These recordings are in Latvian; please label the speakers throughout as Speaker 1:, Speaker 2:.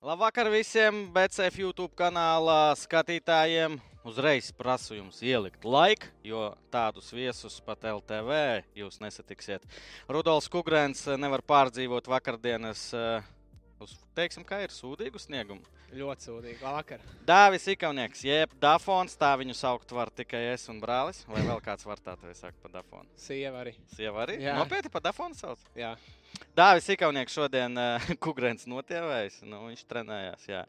Speaker 1: Labvakar visiem BCF YouTube kanāla skatītājiem. Uzreiz prasu jums ielikt laiku, jo tādus viesus pat LTV jūs nesatiksiet. Rudolfs Kungrēns nevar pārdzīvot vakardienas, eh, uz, teiksim, kā ir sūdīgu sniegumu.
Speaker 2: Ļoti sūdīgi. Labvakar.
Speaker 1: Dāvis Ikaunieks, jeb Dafons, tā viņu saukt var tikai es un brālis, vai vēl kāds var tā tevi saukt par Dafonu.
Speaker 2: Sieva arī.
Speaker 1: Sieva arī?
Speaker 2: Jā.
Speaker 1: Nopietni par Dafonu sauc?
Speaker 2: Jā.
Speaker 1: Dāvis Ikaunieks šodien Kungrēns notievējis. Nu, viņš trenējās. Jā.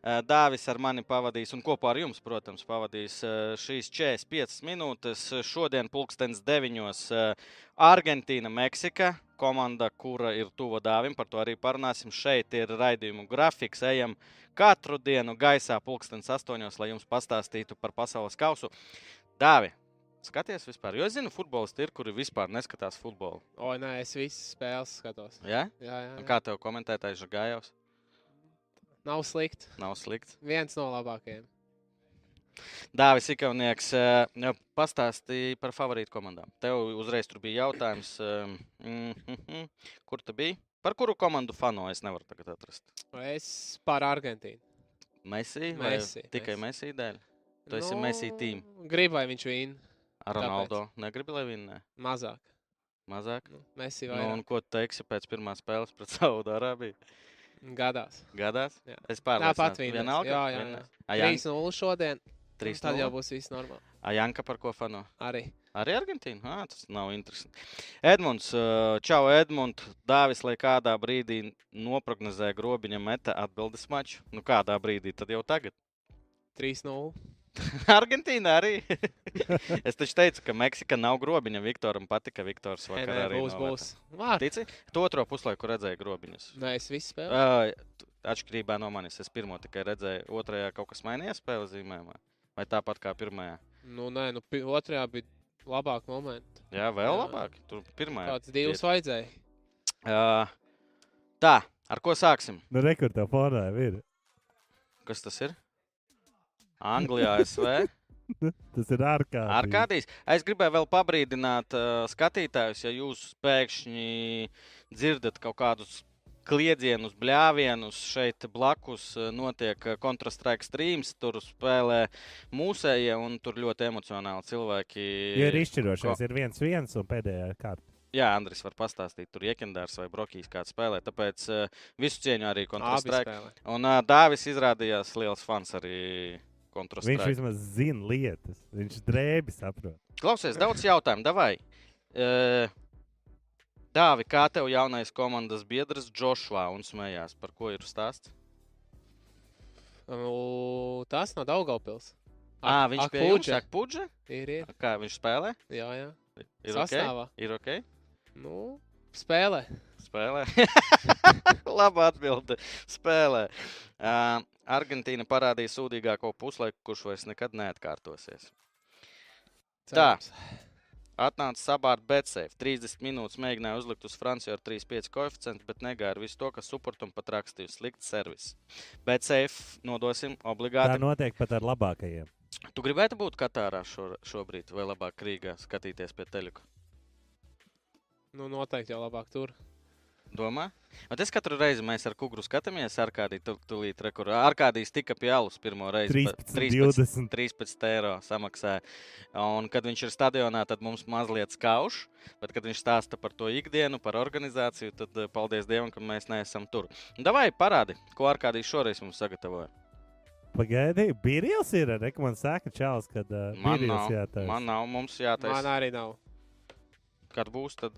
Speaker 1: Eh, Dāvis ar mani pavadīs, un kopā ar jums, protams, pavadīs eh, šīs 45 minūtes. Šodien, pulkstenis 9. Argentīna, Meksika. Komanda, kura ir tuva dāvim, par to arī parunāsim. Šeit ir raidījumu grafiks. Ejam katru dienu gaisā, pulkstenis 8. lai jums pastāstītu par pasaules kausu. Dāvi! Skaties vispār, jo es zinu, futbolisti ir, kuri vispār neskatās futbolu.
Speaker 2: O, nē, es visas spēles skatos.
Speaker 1: Ja?
Speaker 2: Jā, jā.
Speaker 1: Un
Speaker 2: jā.
Speaker 1: kā tev komentētājs Žagājovs?
Speaker 2: Nav slikti.
Speaker 1: Nav slikts.
Speaker 2: Viens no labākajiem.
Speaker 1: Dāvis Ikaunieks eh, pastāstīja par favorītu komandām. Tev uzreiz tur bija jautājums, eh, mm, mm, mm, kur tu biji? Par kuru komandu fanu es nevaru tagad atrast?
Speaker 2: Es par Argentīnu.
Speaker 1: Messi vai
Speaker 2: Messi, Nu,
Speaker 1: tikai Messi dēļ? Tu esi Messi team.
Speaker 2: Gribu, lai viņš vīna
Speaker 1: Ar
Speaker 2: Tāpēc.
Speaker 1: Ronaldo negribi, lai viņi ne?
Speaker 2: mazāk.
Speaker 1: mazāk.
Speaker 2: Nu, Messi
Speaker 1: Nu,
Speaker 2: vai
Speaker 1: un ko tu teiksi pēc pirmās spēles pret Saudārābiju?
Speaker 2: nu. gadās.
Speaker 1: Gadās?
Speaker 2: Jā.
Speaker 1: Es pārliecināts.
Speaker 2: Tāpat vinnēs.
Speaker 1: Vienalga?
Speaker 2: Jā, jā, jā.
Speaker 1: Vinnēs? A, Jan-
Speaker 2: 3-0 šodien.
Speaker 1: trīs
Speaker 2: Trīs tad jau
Speaker 1: nulle?
Speaker 2: būs viss normāli.
Speaker 1: A, Janka par ko fanu?
Speaker 2: Arī.
Speaker 1: Arī Argentīna? Ah, tas nav interesanti. Edmunds, ā, čau, Edmunds. Dāvis, lai kādā brīdī noprognozēja grobiņa meta atbildes maču. Nu, kādā brīdī tad jau tagad?
Speaker 2: 3-0.
Speaker 1: Argentīna arī. es taču teicu, ka Meksika nav grobiņa. Viktoram patika, Viktors
Speaker 2: Nē,
Speaker 1: vakar
Speaker 2: nē,
Speaker 1: arī.
Speaker 2: būs,
Speaker 1: novērtē.
Speaker 2: būs. Vārt.
Speaker 1: Tici, tu otro puslaiku redzēji grobiņus.
Speaker 2: Nē, es visu spēli.
Speaker 1: Ā, tu- Atšķirībā no manis, es pirmo tikai redzēju, otrajā kaut kas mainījās spēles zīmējumā. Vai tāpat kā pirmajā?
Speaker 2: Nu, nē, nu, pi- otrajā bija labāk momenti.
Speaker 1: Jā, vēl
Speaker 2: Jā.
Speaker 1: labāk. Tur pirmajā.
Speaker 2: Kāds divs vajadzēja?
Speaker 1: Ā, Tā, ar ko sāksim?
Speaker 3: Nu, rekordā fonā jau ir.
Speaker 1: Kas tas ir? Anglijā, ASV,
Speaker 3: Tas ir ārkārtīgi.
Speaker 1: Arkādijas. Es gribēju vēl pabrīdināt uh, skatītājus, ja jūs pēkšņi dzirdat kaut kādus kliedzienus, bļāvienus. Šeit blakus eh, notiek kontrastrāta streams, tur spēlē mūsējie un tur ļoti emocionāli cilvēki.
Speaker 3: Jo ir izšķirošais, ir viens, viens un pēdējā kārta.
Speaker 1: Jā, Andris var pastāstīt, tur iekendārs vai brokīs kāds spēlē. Tāpēc eh, visu cieņu arī
Speaker 2: Abi
Speaker 1: kontrastrāta.
Speaker 2: spēlē.
Speaker 1: Un uh, Dāvis izrādījās liels fans arī
Speaker 3: Viņš
Speaker 1: kontrastrāta.
Speaker 3: vismaz zina lietas. Viņš drēbi saprot.
Speaker 1: Klausies, daudz jautājumu. Davai. E, Dāvi, kā tev jaunais komandas biedrs Džošvā un smējās, par ko ir stāsts?
Speaker 2: Nu, tas no Daugaupils.
Speaker 1: Ā, viņš pie jums
Speaker 2: Akūģe.
Speaker 1: saka, puģe.
Speaker 2: Ir, ir.
Speaker 1: Kā viņš spēlē?
Speaker 2: Jā, jā.
Speaker 1: Ir ok.
Speaker 2: Sastāvā.
Speaker 1: Ir ok.
Speaker 2: Nu, spēlē.
Speaker 1: Spēlē. Labā atbilde. Spēlē. Uh, Argentīna parādīja sūdīgāko puslaiku, kurš vairs nekad neatkārtosies. Tā.
Speaker 2: Cerams.
Speaker 1: Atnāca sabāra Betseif. 30 minūtes mēģināja uzlikt uz Franciju ar 3,5 koeficientu, bet negāja visu to, ka suportam pat rakstīja slikts servis. Betseif nodosim
Speaker 3: Tā
Speaker 1: obligāti.
Speaker 3: notiek pat ar labākajiem.
Speaker 1: No... Tu gribētu būt Katārā šo, šobrīd, vai labāk Rīgā skatīties pie teleka?
Speaker 2: Nu, noteikti jau labāk tur.
Speaker 1: Domā? Bet es katru reizi, mēs ar Kungru skatāmies, ar kādī tu- tūlīt rekur. Ar kādīs tika pie alus pirmo reizi. pa-
Speaker 3: 13, 20.
Speaker 1: 13 eiro samaksāja. Un, kad viņš ir stadionā, tad mums mazliet skauž. Bet, kad viņš stāsta par to ikdienu, par organizāciju, tad eh, paldies Dievam, ka mēs neesam tur. Davai parādi, ko ar kādī šoreiz mums sagatavoja.
Speaker 3: Pagaidīju, Birils ir. Re, man saka, Čāls, ka uh,
Speaker 1: Man
Speaker 3: Birils
Speaker 1: nav,
Speaker 3: jātājs.
Speaker 1: man nav, mums
Speaker 2: Man
Speaker 1: jātaisa.
Speaker 2: arī nav.
Speaker 1: Kad būs, tad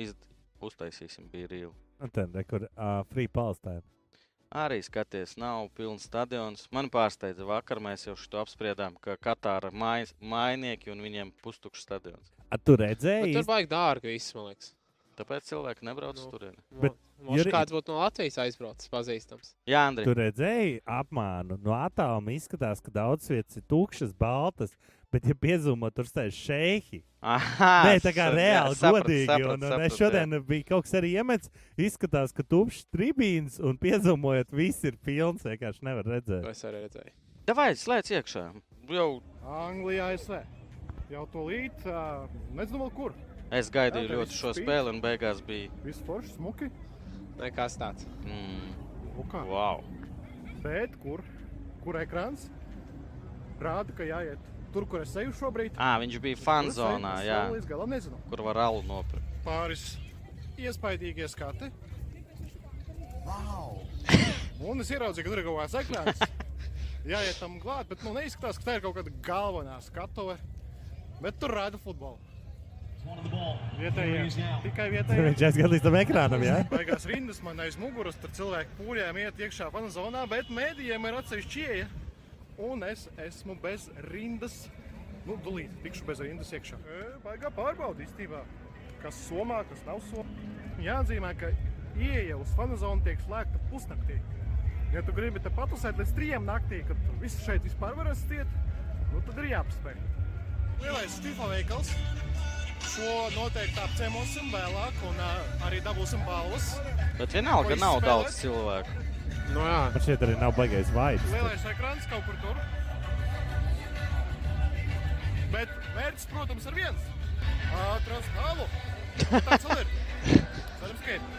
Speaker 1: iz... uztaisīsim bīrīlu.
Speaker 3: Un Nu, tad, re, kur uh, Free Palestine.
Speaker 1: Arī skaties, nav pilns stadions. Man pārsteidza vakar, mēs jau šo apspriedām, ka Katāra mājas, mājnieki un viņiem pustukšs stadions.
Speaker 3: A, tu
Speaker 2: Bet
Speaker 3: redzēji?
Speaker 2: tur baigi dārgi viss, man liekas.
Speaker 1: Tāpēc cilvēki nebrauc uz
Speaker 2: Nu.
Speaker 1: turieni.
Speaker 3: Bet,
Speaker 2: Mums
Speaker 3: Juri-
Speaker 2: kāds būtu no Latvijas aizbraucis, pazīstams.
Speaker 1: Jā, Andri,
Speaker 3: Tu redzēji apmānu. No attāluma izskatās, ka daudz vietas ir tukšas, baltas, bet, ja piezūmo, tur stāv šeihi.
Speaker 1: Aha,
Speaker 3: Nē, tā kā
Speaker 1: sa- jā,
Speaker 3: reāli
Speaker 1: sapratu,
Speaker 3: godīgi.
Speaker 1: sapratu,
Speaker 3: un, un es
Speaker 1: sapratu,
Speaker 3: šodien bija kaut kas arī iemets. Izskatās, ka tupšs tribīns un piezumojot, viss ir pilns. Vienkārši nevar
Speaker 2: To
Speaker 3: redzēt.
Speaker 2: Es arī redzēju.
Speaker 1: jā. Davai, slēdz iekšā. Jau
Speaker 4: Anglijā es ne. E. Jau to līdzi, uh, nezinu, vēl kur.
Speaker 1: es gaidīju
Speaker 4: Jā, tev
Speaker 1: ļoti
Speaker 4: viss
Speaker 1: šo
Speaker 4: spīd.
Speaker 1: spēli, un beigās bija.
Speaker 4: Viss forši, smuki.
Speaker 2: Nekas tāds.
Speaker 1: Mm.
Speaker 4: Nu kā?
Speaker 1: Wow.
Speaker 4: Bet kur? Kur ekrāns? Rāda, ka jāiet tur, kur es eju šobrīd.
Speaker 1: À, viņš bija fanzonā,
Speaker 4: Kur es eju,
Speaker 1: jā,
Speaker 4: es vēl Līdz galam nezinu.
Speaker 1: kur var alu nopirkt.
Speaker 4: Pāris iespaidīgie skati. Wow. Un es ieraudzīju, ka tur ir kaut kāds ekrāns. Jāiet tam klāt, bet nu neizskatās, ka tā ir kaut kāda galvenā skatuve. Bet tur rāda futbolu. Vietējie, tikai vietējie.
Speaker 3: Viņš aizgāja līdz tam ekrānam, jā?
Speaker 4: Baigās rindas man aiz muguras, tur cilvēki pūļām iet iekšā fanu zonā, bet mēdījiem ir atsevišķi ieeja. Un es esmu bez rindas. Nu, dulīt, tikšu bez rindas iekšā. E, Baigā pārbaudi īstenībā, kas somā, kas nav somā. Jāatzīmē, ka ieeja uz fanu zonu tiek slēgta pusnaktī. Ja tu gribi te patusēt līdz trijiem naktī, kad tu visu šeit vispār var astiet, nu tad ir jāpaspēj. Lielais FIFA veikals. Šo noteikti apciemosim vēlāk un uh, arī dabūsim balvas.
Speaker 1: Bet vienalga
Speaker 4: Vai
Speaker 1: nav
Speaker 4: spēlēt?
Speaker 1: daudz cilvēku.
Speaker 2: Nu jā,
Speaker 3: Man šeit arī nav baigais vaids.
Speaker 4: Lielais ekrāns kaut kur tur. Bet mērķis, protams, ir viens. Atrast halu. Tas ir. Cerams, ka ir.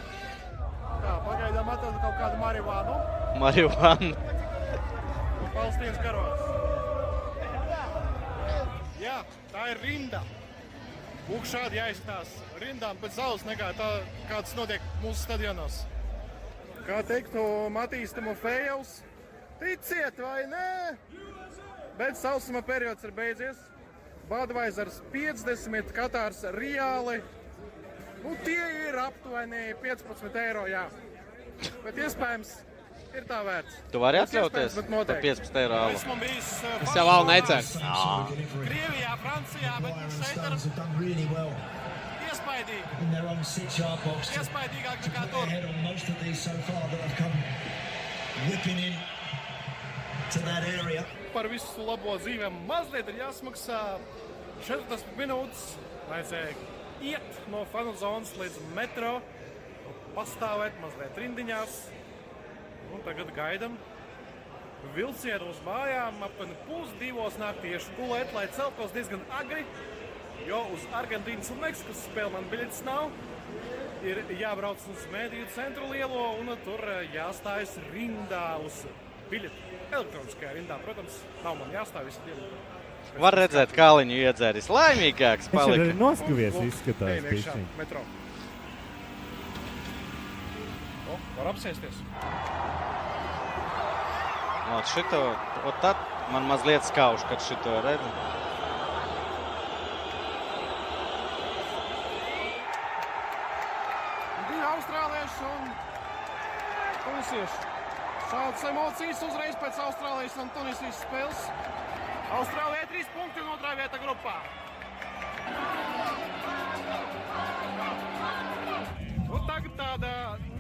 Speaker 4: Tā, pagaidām atradu kaut kādu marihuānu.
Speaker 1: Marihuana.
Speaker 4: un Palestīnas karos. Jā, tā ir rinda. Lūk, šādi jāizstās rindām pēc zāles, nekā tā, kā tas notiek mūsu stadionos. Kā teiktu Matīs Timofejovs, ticiet vai nē, bet sausuma periods ir beidzies. Budweiser's 50, Katārs reāli. Nu, tie ir aptuveni 15 eiro, jā. Bet iespējams, ir tā vērts.
Speaker 1: Tu vari
Speaker 4: Tas
Speaker 1: atļauties
Speaker 4: iespējams, bet
Speaker 1: par
Speaker 4: noteikti.
Speaker 1: 15 eiro alu.
Speaker 4: Esmu bijis eh,
Speaker 2: es jau vēl neceru.
Speaker 4: Krievijā, Francijā, bet nu šeit ir
Speaker 5: Stars have done really well
Speaker 4: iespaidīgi.
Speaker 5: in their own six-yard box to
Speaker 4: Iespaidīgāk
Speaker 5: get
Speaker 4: nekā tur.
Speaker 5: ahead on most of these so far that have come whipping in to that area.
Speaker 4: Par visu labo dzīvēm mazliet ir jāsmaksā 40 minūtes. Vajadzēja iet no fanu zonas līdz metro, pastāvēt mazliet rindiņās. Un tagad gaidam. Vilcienu uz mājām apmēram pusdivos nāk tieši gulēt, lai celtos diezgan agri. Jo uz Argentīnas un Meksikas spēli man biļetes nav. ir jābrauc uz mediju centru lielo, un tur eh, jāstājas rindā uz biļeti. Elektroniskajā rindā, protams, nav man jāstāv visu dienu.
Speaker 1: Var redzēt, kā līniju iedzēris. Laimīgāks
Speaker 3: Viņš ir nu- arī
Speaker 1: palika.
Speaker 3: noskuvies
Speaker 4: Un, lūk,
Speaker 3: izskatās.
Speaker 4: ejam iekšā
Speaker 3: bišķiņ.
Speaker 4: Metro. O, var apsēsties.
Speaker 1: Ot šito, ot tad man mazliet skauž, kad šito redzu.
Speaker 4: Divi austrālieši un tunisieši. Šādas emocijas uzreiz pēc Austrālijas un Tunisijas spēles. Austrālijai trīs punkti un otrā vieta grupā. Un Nu, tagad tāda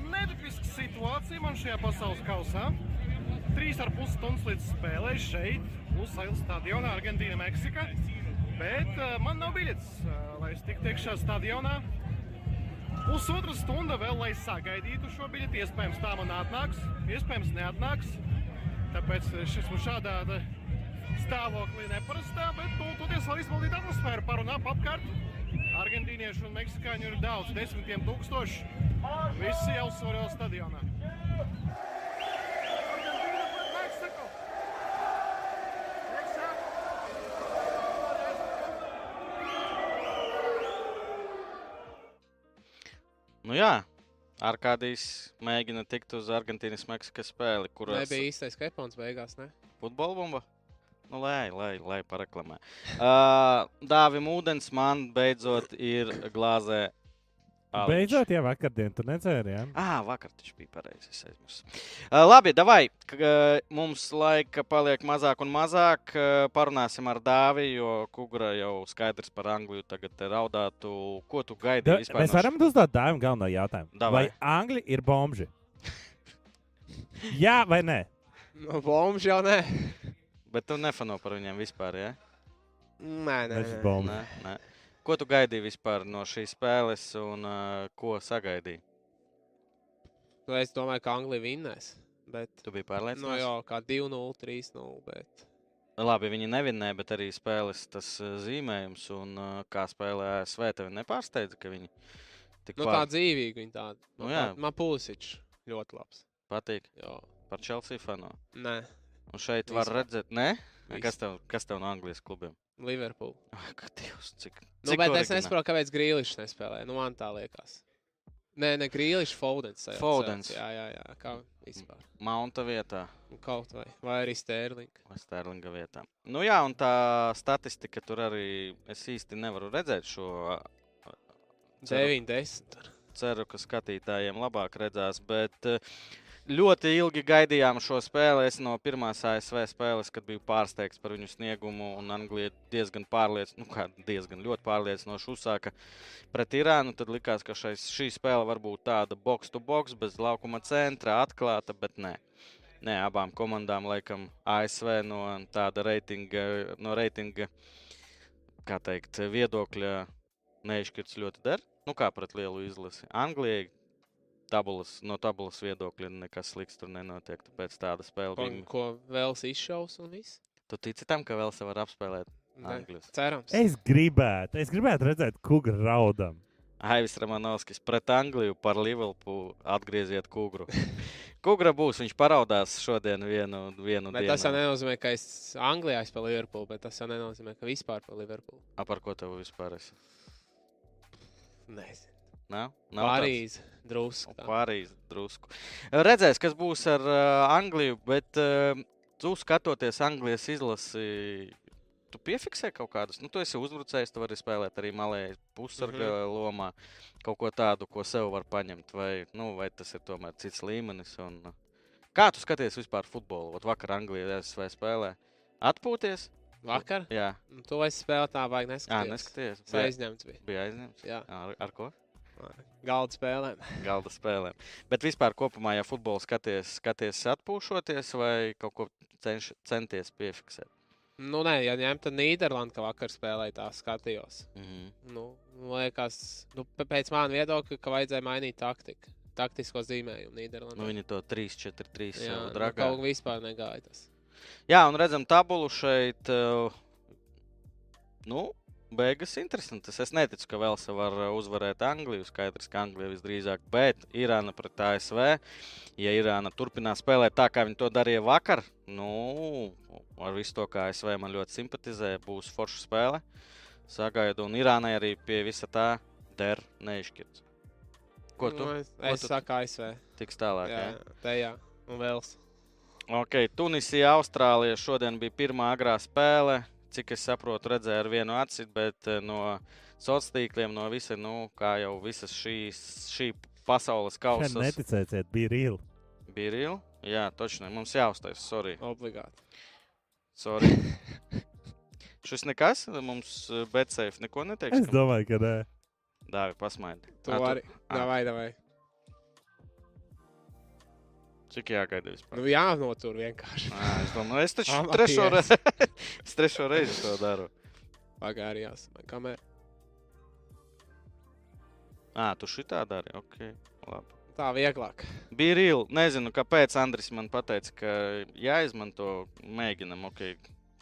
Speaker 4: netipiska situācija man šajā pasaules kausā. Trīs ar pus stundas līdz spēlei šeit, Lusailas stadionā, Argentīna, Meksika. Bet eh, man nav biļetes, eh, lai es tiktu iekšā stadionā. Pusotra stunda vēl, lai sagaidītu šo biļeti. Iespējams, tā man atnāks, iespējams, neatnāks. Tāpēc es esmu šādā te stāvoklī neparastā, bet nu, toties var izbaudīt atmosfēru parunām apkārt. Argentīniešu un meksikāņu ir daudz, desmitiem tūkstoši. Visi jau svarīgā stadionā. Argentīna pret Meksiku! Meksika!
Speaker 1: Nu jā, Arkādijs mēģina tikt uz Argentīnas Meksikas spēli, kur
Speaker 2: Nebija īstais kepons beigās, ne?
Speaker 1: futbola bumba. Nu, lai, lai, lai paraklamē. Uh, Dāvim ūdens man beidzot ir glāzē. aliņš.
Speaker 3: Beidzot, jā, vakardien tu nedzēri, jā?
Speaker 1: Ah, vakar taču bija pareizi. es aizmirsu. Uh, labi, davai. K, uh, mums laika paliek mazāk un mazāk. Uh, parunāsim ar Dāvi, jo Kungura jau skaidrs par Angliju. Tagad te raudātu, ko tu
Speaker 3: Da,
Speaker 1: gaidīji. vispār
Speaker 3: mēs
Speaker 1: no
Speaker 3: varam uzdot dāvim galveno jautājumu.
Speaker 1: Davai.
Speaker 3: Vai Angļi ir bombži? jā vai nē?
Speaker 2: No bombas Nu, jau nē.
Speaker 1: šī- Bet tu nefano par viņiem vispār. Ja?
Speaker 2: Nē, nē.
Speaker 3: Viņš ir
Speaker 2: nē.
Speaker 3: bombži.
Speaker 1: Nē, nē. Ko tu gaidīji vispār no šīs spēles un uh, ko sagaidīji?
Speaker 2: Nu, Es domāju, ka Anglija vinnēs. Bet,
Speaker 1: Tu biji pārliecināts.
Speaker 2: nu jā, kā 2-0, 3-0. Bet...
Speaker 1: Labi, viņi nevinēja, bet arī spēles tas uh, zīmējums un uh, kā spēlēja ASV. Tev nepārsteidza, ka viņi tik
Speaker 2: Nu,
Speaker 1: pār-
Speaker 2: tā dzīvīga viņa tāda.
Speaker 1: Nu jā.
Speaker 2: Man pulsiņš ļoti labs.
Speaker 1: Patīk
Speaker 2: Jo.
Speaker 1: par Chelsea fanu.
Speaker 2: Nē,
Speaker 1: Un šeit var
Speaker 2: Vispār.
Speaker 1: redzēt, ne? Kas
Speaker 2: Vispār.
Speaker 1: tev, kas tev no Anglijas klubiem?
Speaker 2: Liverpool.
Speaker 1: Ak, Dievs, cik.
Speaker 2: Nu,
Speaker 1: cik
Speaker 2: bet es
Speaker 1: oriģināli.
Speaker 2: nesaprotu, kāpēc Grīlis nespēlē. Nu, man tā liekas. Nē, ne Grīlis, Foldens. sajauc,
Speaker 1: Foldens.
Speaker 2: sajauc. Jā, jā, jā. Kā vispār.
Speaker 1: Mounta vietā.
Speaker 2: Nu, Kaut vai. Vai arī Stērlinga.
Speaker 1: vai Sterlinga vietā. Nu jā, un tā statistika tur arī es īsti nevaru redzēt šo. Ceru,
Speaker 2: 90.
Speaker 1: ceru ka skatītājiem labāk redzēs, bet eh, ļoti ilgi gaidījām šo spēli. Es no pirmās ASV spēles, kad biju pārsteigts par viņu sniegumu, un Anglija diezgan pārliecinoši, nu kā diezgan ļoti pārliecinoši uzsāka pret Irānu, tad likās, ka šai, šī spēle var būt tāda box to box, bez laukuma centra, atklāta, bet nē. Nē, abām komandām, laikam, ASV no tāda reitinga, no reitinga kā teikt, viedokļa neizšķirts ļoti der. Nu, kā pret lielu izlasi. Anglijai tabulas, no tabulas viedokļa nekas slikts tur nenotiek. Tāpēc tāda spēle
Speaker 2: Ko,
Speaker 1: bija.
Speaker 2: ko vēlas izšaus un viss?
Speaker 1: Tu tici tam, ka vēl se var apspēlēt
Speaker 2: Nē,
Speaker 1: Anglijas?
Speaker 2: Cerams.
Speaker 3: Es gribētu, es gribētu redzēt, kuģi raudam.
Speaker 1: Aivis Ramanovskis pret Angliju par Liverpoolu atgrieziet kūgru. Kūgra būs, viņš paraudās šodien vienu, vienu
Speaker 2: Bet
Speaker 1: dienu.
Speaker 2: tas jau nenozīmē, ka es Anglijā spēlēju Liverpoolu, bet tas jau nenozīmē, ka vispār par Liverpoolu.
Speaker 1: A, par ko tev vispār ir?
Speaker 2: Nezinu.
Speaker 1: Nav, nav tāds?
Speaker 2: Parīzē drusku. tā.
Speaker 1: Pārējais drusku. Redzēs, kas būs ar uh, Angliju, bet uh, tu skatoties Anglijas izlasi, tu piefiksē kaut kādus. Nu, tu esi uzbrucējs, tu vari spēlēt arī malēji pussarga mm -hmm. lomā. Kaut ko tādu, ko sev var paņemt, vai, nu, vai tas ir tomēr cits līmenis. Un, uh, kā tu skaties vispār futbolu? Ot vakar Anglijā SV spēlē. Atpūties?
Speaker 2: Vakar?
Speaker 1: Jā,
Speaker 2: Nu, to es spēlēju tā, vajag
Speaker 1: Jā
Speaker 2: neskatīties.
Speaker 1: neskaties.
Speaker 2: Es
Speaker 1: Bija,
Speaker 2: aizņemts biju.
Speaker 1: bija aizņemts.
Speaker 2: Jā.
Speaker 1: Ar, ar ko?
Speaker 2: Galda spēlēm.
Speaker 1: galda spēlēm. Bet vispār, kopumā, ja futbolu skaties, skaties atpūšoties vai kaut ko cenš, centies piefiksēt.
Speaker 2: Nu, nē, ja ņemt, tad Nīderlanda, ka vakar spēlēja tā, skatījos.
Speaker 1: Mm -hmm.
Speaker 2: Nu, man liekas, nu, p- pēc manas viedokļa, ka vajadzēja mainīt taktiku. Taktisko zīmējumu
Speaker 1: nu,
Speaker 2: Nīderlandē.
Speaker 1: viņi to 3, 4, 3
Speaker 2: jā,
Speaker 1: jau
Speaker 2: nu,
Speaker 1: eh, dragā.
Speaker 2: kaut kā vispār negāja tas.
Speaker 1: Jā, un redzam tabulu šeit. eh, Nu, beigas interesantas. Es neticu, ka Velsa var eh, uzvarēt Angliju. Skaidrs, ka Anglija visdrīzāk, bet Irāna pret ASV. Ja Irāna turpinās spēlēt tā, kā viņi to darīja vakar, nu, ar visu to, kā ASV man ļoti simpatizē, būs forša spēle. Sagaidu, un Irānai arī pie visa tā der neizšķirts. Ko tu
Speaker 2: Nu, es
Speaker 1: Ko
Speaker 2: es
Speaker 1: tu-
Speaker 2: saku ASV.
Speaker 1: tiks tālāk?
Speaker 2: Jā,
Speaker 1: Jā.
Speaker 2: jā, te jā. Un vēls.
Speaker 1: Ok, Tunisija, Austrālija šodien bija pirmā agrā spēle. Cik es saprotu, redzēju ar vienu aci, bet eh, no sociāliem tīkliem, no visa, nu, kā jau visas šīs, šī pasaules
Speaker 3: Šeit
Speaker 1: kausa
Speaker 3: neticēsiet, bija rīli.
Speaker 1: bija rīla. Jā, točno, mums jāuztais, sorry.
Speaker 2: Obligāti.
Speaker 1: sorry. Šis nekas, mums betseif neko neteiks.
Speaker 3: Es domāju, ka nē.
Speaker 1: Dāvi, pasmaidi.
Speaker 2: Tu
Speaker 1: Ā, tu-
Speaker 2: vari.
Speaker 1: ā.
Speaker 2: Jā, vai, vai.
Speaker 1: Cik jāgaida vispār?
Speaker 2: Nu, jā, notur vienkārši.
Speaker 1: Ā, Es domāju, es taču
Speaker 2: Amatieris.
Speaker 1: trešo reizi, es trešo reizi to daru.
Speaker 2: Pagāri jāsaka. Kamēr.
Speaker 1: Ā, tu šitā dari, ok, labi.
Speaker 2: Tā vieglāk.
Speaker 1: Bija rīli. Nezinu, kāpēc Andris man teica, ka jāizmanto, mēģinam, ok,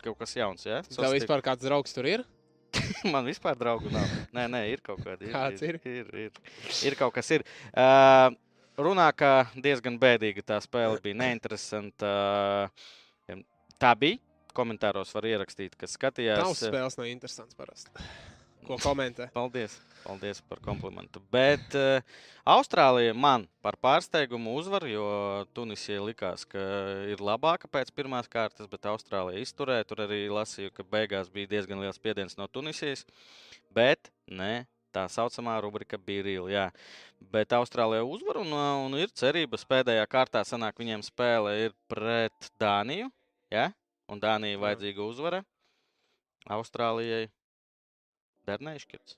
Speaker 1: kaut kas jauns. Ja?
Speaker 2: Tev
Speaker 1: Sastik-
Speaker 2: vispār kāds draugs tur ir?
Speaker 1: man vispār draugu nav. Nē, nē, ir kaut kāda.
Speaker 2: Kāds
Speaker 1: ir? Ir, ir, ir kaut kas. Ir. Uh, runā, ka diezgan bēdīga tā spēle bija. Neinteresanta. Uh, tā bija. Komentāros var ierakstīt, kas skatījās.
Speaker 2: Nav spēles, nav interesants parasti. Ko komentē?
Speaker 1: Paldies! Paldies par komplimentu. Bet uh, Austrālija man par pārsteigumu uzvaru, jo Tunisija likās, ka ir labāka pēc pirmās kārtas, bet Austrālija izturēja. Tur arī lasīju, ka beigās bija diezgan liels spiediens no Tunisijas. Bet ne, tā saucamā rubrika bija rīla. Bet Austrālija uzvar un, uh, un ir cerības. Pēdējā kārtā sanāk viņiem spēle ir pret Dāniju. Jā? Un Dānija vajadzīga uzvara Austrālijai. Dernēškits.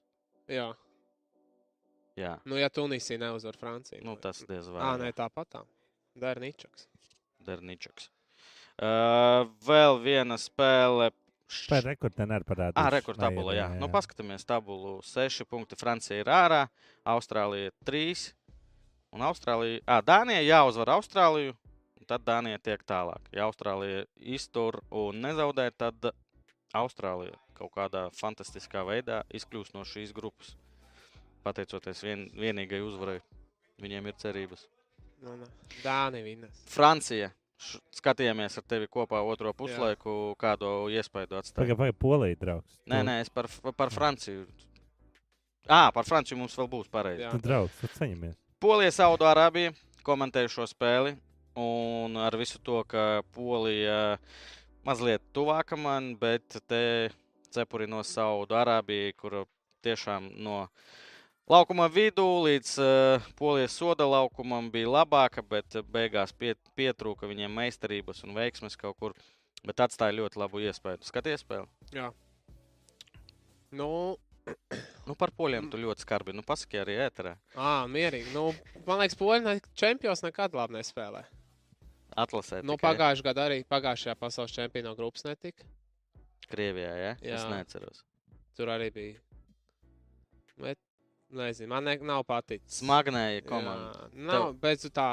Speaker 2: Jā.
Speaker 1: Jā,
Speaker 2: Nu, ja Tunisija neuzvar Franciju.
Speaker 1: nu, tas diez vai
Speaker 2: Ā, nē, tāpat tā. Darničaks.
Speaker 1: Darničuks. Uh, vēl viena spēle. Šš-
Speaker 3: Pēc rekorda neparādās.
Speaker 1: Ā, rekordtabula, jā. Nu, paskatāmies tabulu. 6 punkti Francija ir ārā, Austrālija 3. Un Austrālija, ā, Dānija jāuzvar Austrāliju, un tad Dānija tiek tālāk. Ja Austrālija iztur un nezaudē, tad Austrālija kaut kādā fantastiskā veidā izkļūs no šīs grupas. Pateicoties vien, vienīgai uzvarai, viņiem ir cerības.
Speaker 2: Nu, nu. Dāni vinnēs.
Speaker 1: Francija. Š- Skatījāmies ar tevi kopā otro puslaiku, kādu iespēju atstāja.
Speaker 3: Pagaid, pagaid, polija draugs.
Speaker 1: Nē, nē, es par, f- par Franciju. À, par Franciju mums vēl būs pareizi.
Speaker 2: Jā.
Speaker 3: Tu draugs, tad saņemies.
Speaker 1: Polija, Saudārābija komentēju šo spēli. Un ar visu to, ka Polija mazliet tuvāka man, bet te cepuri no Saudārābija, kur tiešām no laukuma vidū līdz eh, polijas soda laukumam bija labāka, bet beigās pie, pietrūka viņiem meistarības un veiksmes kaut kur. Bet atstāja ļoti labu iespēju. Skaties, spēlē.
Speaker 2: Nu,
Speaker 1: Nu, par poļiem tu ļoti skarbi. Nu, pasaki arī ēterā.
Speaker 2: ā, mierīgi. Nu, man liekas, poļi ne- čempions nekad labi nespēlē.
Speaker 1: Atlasē.
Speaker 2: Nu,
Speaker 1: tikai
Speaker 2: pagājušajā gadā arī pagājušajā pasaules čempionā grupas netika.
Speaker 1: Krievijā, ja?
Speaker 2: Jā.
Speaker 1: Es neatceros.
Speaker 2: Tur arī bija. Bet, nezinu, man ne, nav paticis.
Speaker 1: Smagnēja komanda.
Speaker 2: Jā, Nav, bet tu tā.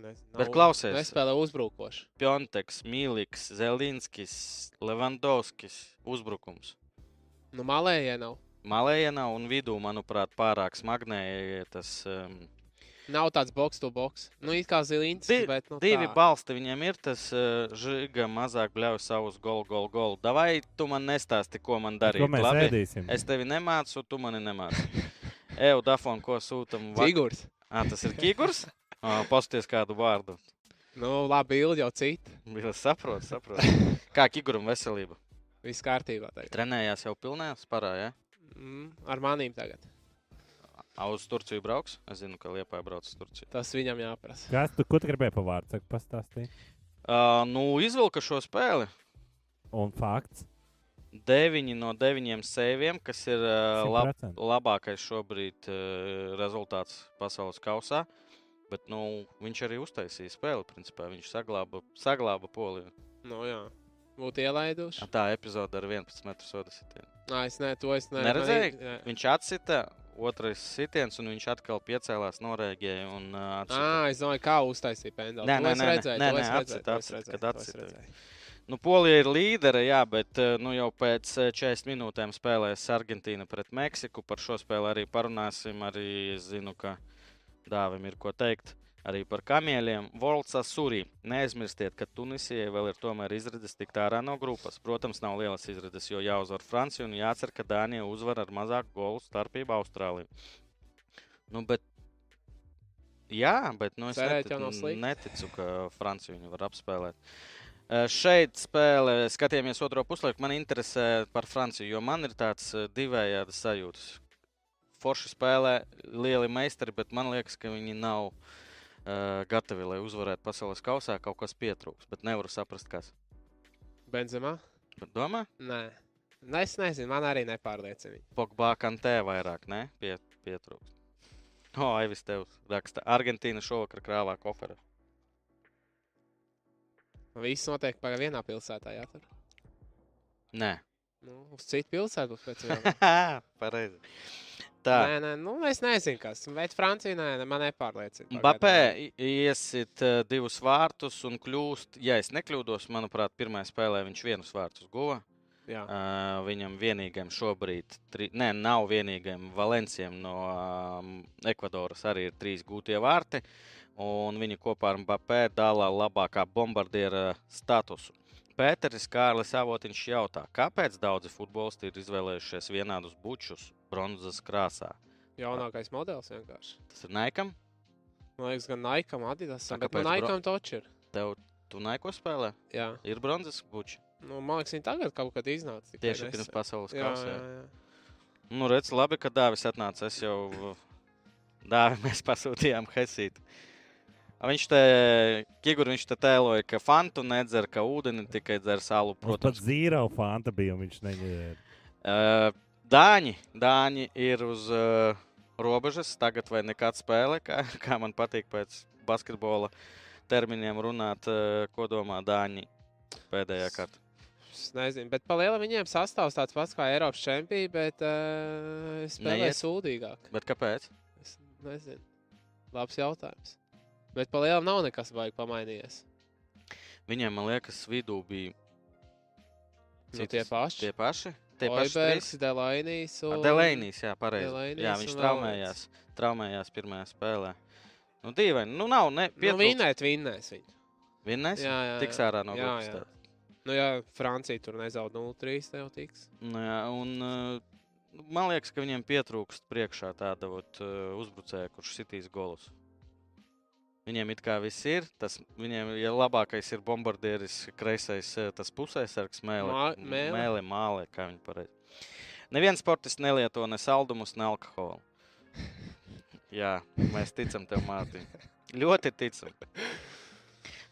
Speaker 2: Nezinu,
Speaker 1: Bet klausies.
Speaker 2: Nespēlē uzbrukoši.
Speaker 1: Pjonteks, Mīliks, Zelinskis, Levandovskis. Uzbrukums.
Speaker 2: Nu, malējie nav.
Speaker 1: Malējienā un vidū, manuprāt, pārāk smagnēja tas. Um,
Speaker 2: Nav tāds boks, to boks. Nu, it kā zilīns.
Speaker 1: Di-
Speaker 2: bet, nu,
Speaker 1: divi
Speaker 2: tā.
Speaker 1: balsti viņam ir, tas uh, žiga mazāk bļauj savus golu, golu, golu. Davai, tu man nestāsti, ko man darīt.
Speaker 3: Ko mēs
Speaker 1: labi?
Speaker 3: ēdīsim?
Speaker 1: Es tevi nemācu, tu mani nemāci. Eju, Dafon, ko sūtam? Vak...
Speaker 2: Figūrs.
Speaker 1: Ah, tas ir Kigurs? Oh, Pasties kādu vārdu.
Speaker 2: Nu, labi, ilgi jau cita.
Speaker 1: Bija saprot, saprot. Kā Kiguram veselība?
Speaker 2: Viss kārtībā. Tagad.
Speaker 1: Trenējās jau pilnē sparā, ja?
Speaker 2: Mm, ar manīm tagad.
Speaker 1: A, Uz Turciju brauks? Es zinu, ka Liepā brauc uz Turciju.
Speaker 2: Tas viņam jāprasa.
Speaker 3: Kas tu, ko tu gribēji par vārdu? Saka, pastāstīji.
Speaker 1: Uh, nu, izvilka šo spēli.
Speaker 3: Un fakts.
Speaker 1: 9 no 9 sēviem, kas ir uh, lab,
Speaker 3: 100%.
Speaker 1: labākais šobrīd uh, rezultāts pasaules kausā. Bet nu, viņš arī uztaisīja spēli. Principā. Viņš saglāba, saglāba poliju.
Speaker 2: Nu, jā. Būtu ielaiduši.
Speaker 1: A, Tā epizode ar 11 metru sodu sitienu.
Speaker 2: Nē, es ne, to es ne,
Speaker 1: Neredzēji?
Speaker 2: Man, nē.
Speaker 1: Viņš atsita, otrais sitiens, un viņš atkal piecēlās, norēģēja un uh, atsita.
Speaker 2: Ā, es domāju, kā uztaisīja pendulu.
Speaker 1: Nē,
Speaker 2: To
Speaker 1: nē,
Speaker 2: es
Speaker 1: nē, nē.
Speaker 2: redzēju,
Speaker 1: Nē,
Speaker 2: to
Speaker 1: nē,
Speaker 2: es redzēju,
Speaker 1: atcita,
Speaker 2: to es
Speaker 1: atcita,
Speaker 2: redzēju,
Speaker 1: kad
Speaker 2: to es
Speaker 1: atcita.
Speaker 2: redzēju.
Speaker 1: Nu, Polija ir līdere, jā, bet eh, nu, jau pēc eh, 40 minūtēm spēlēs Argentīna pret Meksiku. Par šo spēli arī parunāsim. Arī es zinu, ka dāvim ir ko teikt. Arī par kamieļiem. Volca Surī. Neaizmirstiet, ka Tunisijai vēl ir tomēr izredzes tikt ārā no grupas. Protams, nav lielas izredzes, jo jāuzvar Francija un jācer, ka Dānija uzvar ar mazāku golu starpību Austrāliju. Nu, bet... Jā, bet nu, es
Speaker 2: Cerēt jau nav
Speaker 1: netic-
Speaker 2: slikti.
Speaker 1: neticu, ka Francija viņu var apspēlēt. Eh, Šeit spēle, skatījāmies otro puslaiku. Man interesē par Franciju, jo man ir tāds eh, divējādas sajūtas. Forši spēlē lieli meistari, bet man liekas, ka viņi nav eh, gatavi, lai uzvarētu pasaules kausā. Kaut kas pietrūks, bet nevaru saprast, kas.
Speaker 2: Benzemā?
Speaker 1: Bet domā,
Speaker 2: Nē. Nē, es nezinu, man arī nepārliecina. viņu.
Speaker 1: Pogba kantē vairāk, ne? Pie, pietrūks. O, oh, Aivis tev raksta. Argentīna šovakar krāvā koferu.
Speaker 2: Viss notiek pagā vienā pilsētā jātur.
Speaker 1: Nē,
Speaker 2: Nu, uz citu pilsētu būs pēc tam.
Speaker 1: pareizi. Tā.
Speaker 2: Nē, nē, nu es nezinu, kas. Bet Francija, nē, ne- man nepārliecina. pagaidām.
Speaker 1: Bapē iesit eh, divus vārtus un kļūst, ja es nekļūdos, manuprāt, pirmajā spēlē viņš vienus vārtus guva.
Speaker 2: Jā.
Speaker 1: Uh, viņam vienīgajam šobrīd, tri, nē, nav vienīgajam Valencijam no um, Ekvadoras arī ir trīs gūtie vārti. Un viņi kopā ar Mbappé dala labākā bombardiera statusu. Pēteris Kārlis Avotiņš jautā, kāpēc daudzi futbolisti ir izvēlējušies vienādus bučus bronzas krāsā?
Speaker 2: Jaunākais modelis vienkārši.
Speaker 1: Tas ir Naikam?
Speaker 2: Man liekas, gan Naikam,
Speaker 1: Tā
Speaker 2: Adidasam, bet nu,
Speaker 1: kāpēc bro-
Speaker 2: Naikam taču ir.
Speaker 1: Tev tu Naiko spēlē?
Speaker 2: Jā.
Speaker 1: Ir bronzas buči.
Speaker 2: Nu, man liekas, viņi tagad kaut kad iznāca. tikai
Speaker 1: Tieši
Speaker 2: nesen.
Speaker 1: pirms pasaules
Speaker 2: Jā,
Speaker 1: kausa. jā.
Speaker 2: jā, jā.
Speaker 1: Nu, redz, labi, ka Dāvis atnāca. Es jau dāvi mēs pasūtījām Hesītu. A, Viņš te, Kigur, viņš te tēloja, ka fantu nedzer, ka ūdeni tikai dzer salu.
Speaker 3: Protams,
Speaker 1: Protams,
Speaker 3: pat zīra fanta bija un viņš neņēma.
Speaker 1: Ē, Dāņi, Dāņi ir uz ē, robežas, tagad vai nekad spēlē, kā, kā man patīk pēc basketbola terminiem runāt, ē, ko domā Dāņi pēdējā kārtā.
Speaker 2: Es nezinu, bet palielā viņiem sastāvs tāds pats kā Eiropas čempions, bet uh, spēlē
Speaker 1: Neiet?
Speaker 2: sūdīgāk.
Speaker 1: Bet kāpēc?
Speaker 2: Es nezinu. Labs jautājums. Bet palielā nav nekas vajag pamainījies.
Speaker 1: Viņiem, man liekas, vidū bija
Speaker 2: Nu,
Speaker 1: Citas-
Speaker 2: tie paši.
Speaker 1: Tie paši? Tie paši trīs?
Speaker 2: Oibergs, Delainijs.
Speaker 1: Ar Delēnijas, jā, pareizi. Jā,
Speaker 2: Delainijs
Speaker 1: viņš
Speaker 2: un vēl
Speaker 1: traumējās, traumējās pirmajā spēlē. Nu, dīvaini. Nu, nav. Ne,
Speaker 2: Nu,
Speaker 1: pietrūkst.
Speaker 2: vinnēt, vinnēs viņu.
Speaker 1: Vinnēs?
Speaker 2: Jā, jā,
Speaker 1: Tiks
Speaker 2: jā.
Speaker 1: ārā no
Speaker 2: Jā,
Speaker 1: grupas.
Speaker 2: jā.
Speaker 1: tā.
Speaker 2: Nu, ja Francija tur nezaudē 0-3, tad jau tiks.
Speaker 1: Nu, jā, un, eh, man liekas, ka viņiem pietrūkst priekšā tāda vot, eh, uzbrucēja, kurš sitīs golus. Viņiem it kā viss ir. Tas, viņiem, ja labākais ir bombardieris, kreisais, eh, tas pusēsargs,
Speaker 2: Mā-
Speaker 1: mēlē,
Speaker 2: mēle.
Speaker 1: mēlē, mālē, kā viņi pareizi. Neviens sportists nelieto ne saldumus, ne alkoholu. Jā, mēs ticam tev, Mārtiņ. Ļoti ticam.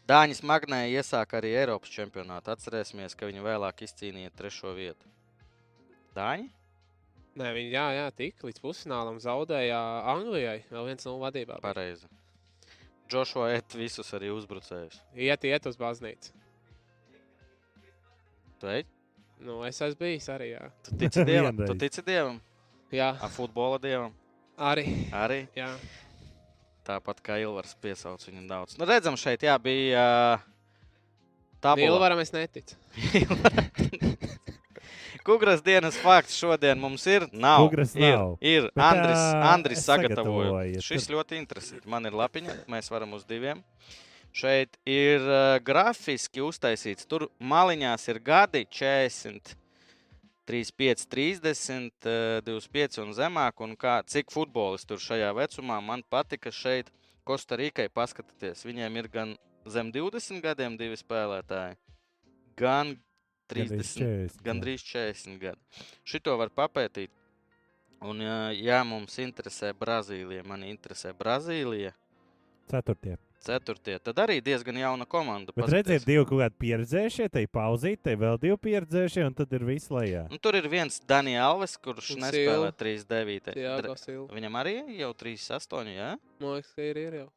Speaker 1: Dāņas Magnē iesāka arī Eiropas čempionātu. Atcerēsimies, ka viņi vēlāk izcīnīja trešo vietu. Dāņi?
Speaker 2: Nē, viņi jā, jā, tik līdz pusfinālam zaudēja Anglijai. Vēl viens no vadībā. bija.
Speaker 1: Pareizi. Džošo et visus arī uzbrucējus.
Speaker 2: Iet, iet uz baznīcu.
Speaker 1: Tu ej?
Speaker 2: Nu, es esmu bijis arī. Jā,
Speaker 1: Tu tici dievam?
Speaker 3: Vienreiz.
Speaker 1: tu tici dievam?
Speaker 2: jā
Speaker 1: A futbola dievam?
Speaker 2: arī.
Speaker 1: Arī
Speaker 2: Jā.
Speaker 1: tāpat kā Ilvars piesauc viņu daudz. Nu, redzam, šeit jā, bija tā līnija.
Speaker 2: Ilvaram es neticu.
Speaker 1: Kugras dienas fakts šodien mums ir. Nav.
Speaker 3: Kugras
Speaker 1: ir,
Speaker 3: nav.
Speaker 1: Ir.
Speaker 3: Bet,
Speaker 1: Andris,
Speaker 3: ā,
Speaker 1: Andris
Speaker 3: es
Speaker 1: sagatavoja.
Speaker 3: sagatavoju.
Speaker 1: Šis ļoti interesants. Man ir lapiņa, mēs varam uz diviem. Šeit ir uh, grafiski uztaisīts. Tur maliņās ir gadi 40. 35, 30, eh, 25 un zemāk. Un kā, cik futbolisti tur šajā vecumā man patika šeit, Kostarīkai, paskatieties. Viņiem ir gan zem 20 gadiem divi spēlētāji, gan 30 gandrīz 40 gadi. Šito var papētīt. Un, ja, ja mums interesē Brazīlija, man interesē Brazīlija,
Speaker 3: Ceturtie.
Speaker 1: ceturtie, tad arī diezgan jauna komanda.
Speaker 3: Bet
Speaker 1: paskaties.
Speaker 3: redziet, divi kaut kādi pieredzējušie, te ir pauzīte, vēl divi pieredzējušie, un tad ir viss lejā.
Speaker 1: Nu, tur ir viens Daniels Alves, kurš
Speaker 2: Un
Speaker 1: nespēlē
Speaker 2: Silva.
Speaker 1: 3-9.
Speaker 2: Jā,
Speaker 1: Dre-
Speaker 2: tas ir.
Speaker 1: Viņam arī jau 3-8, jā?
Speaker 2: Man liekas, ka ir, ir jau.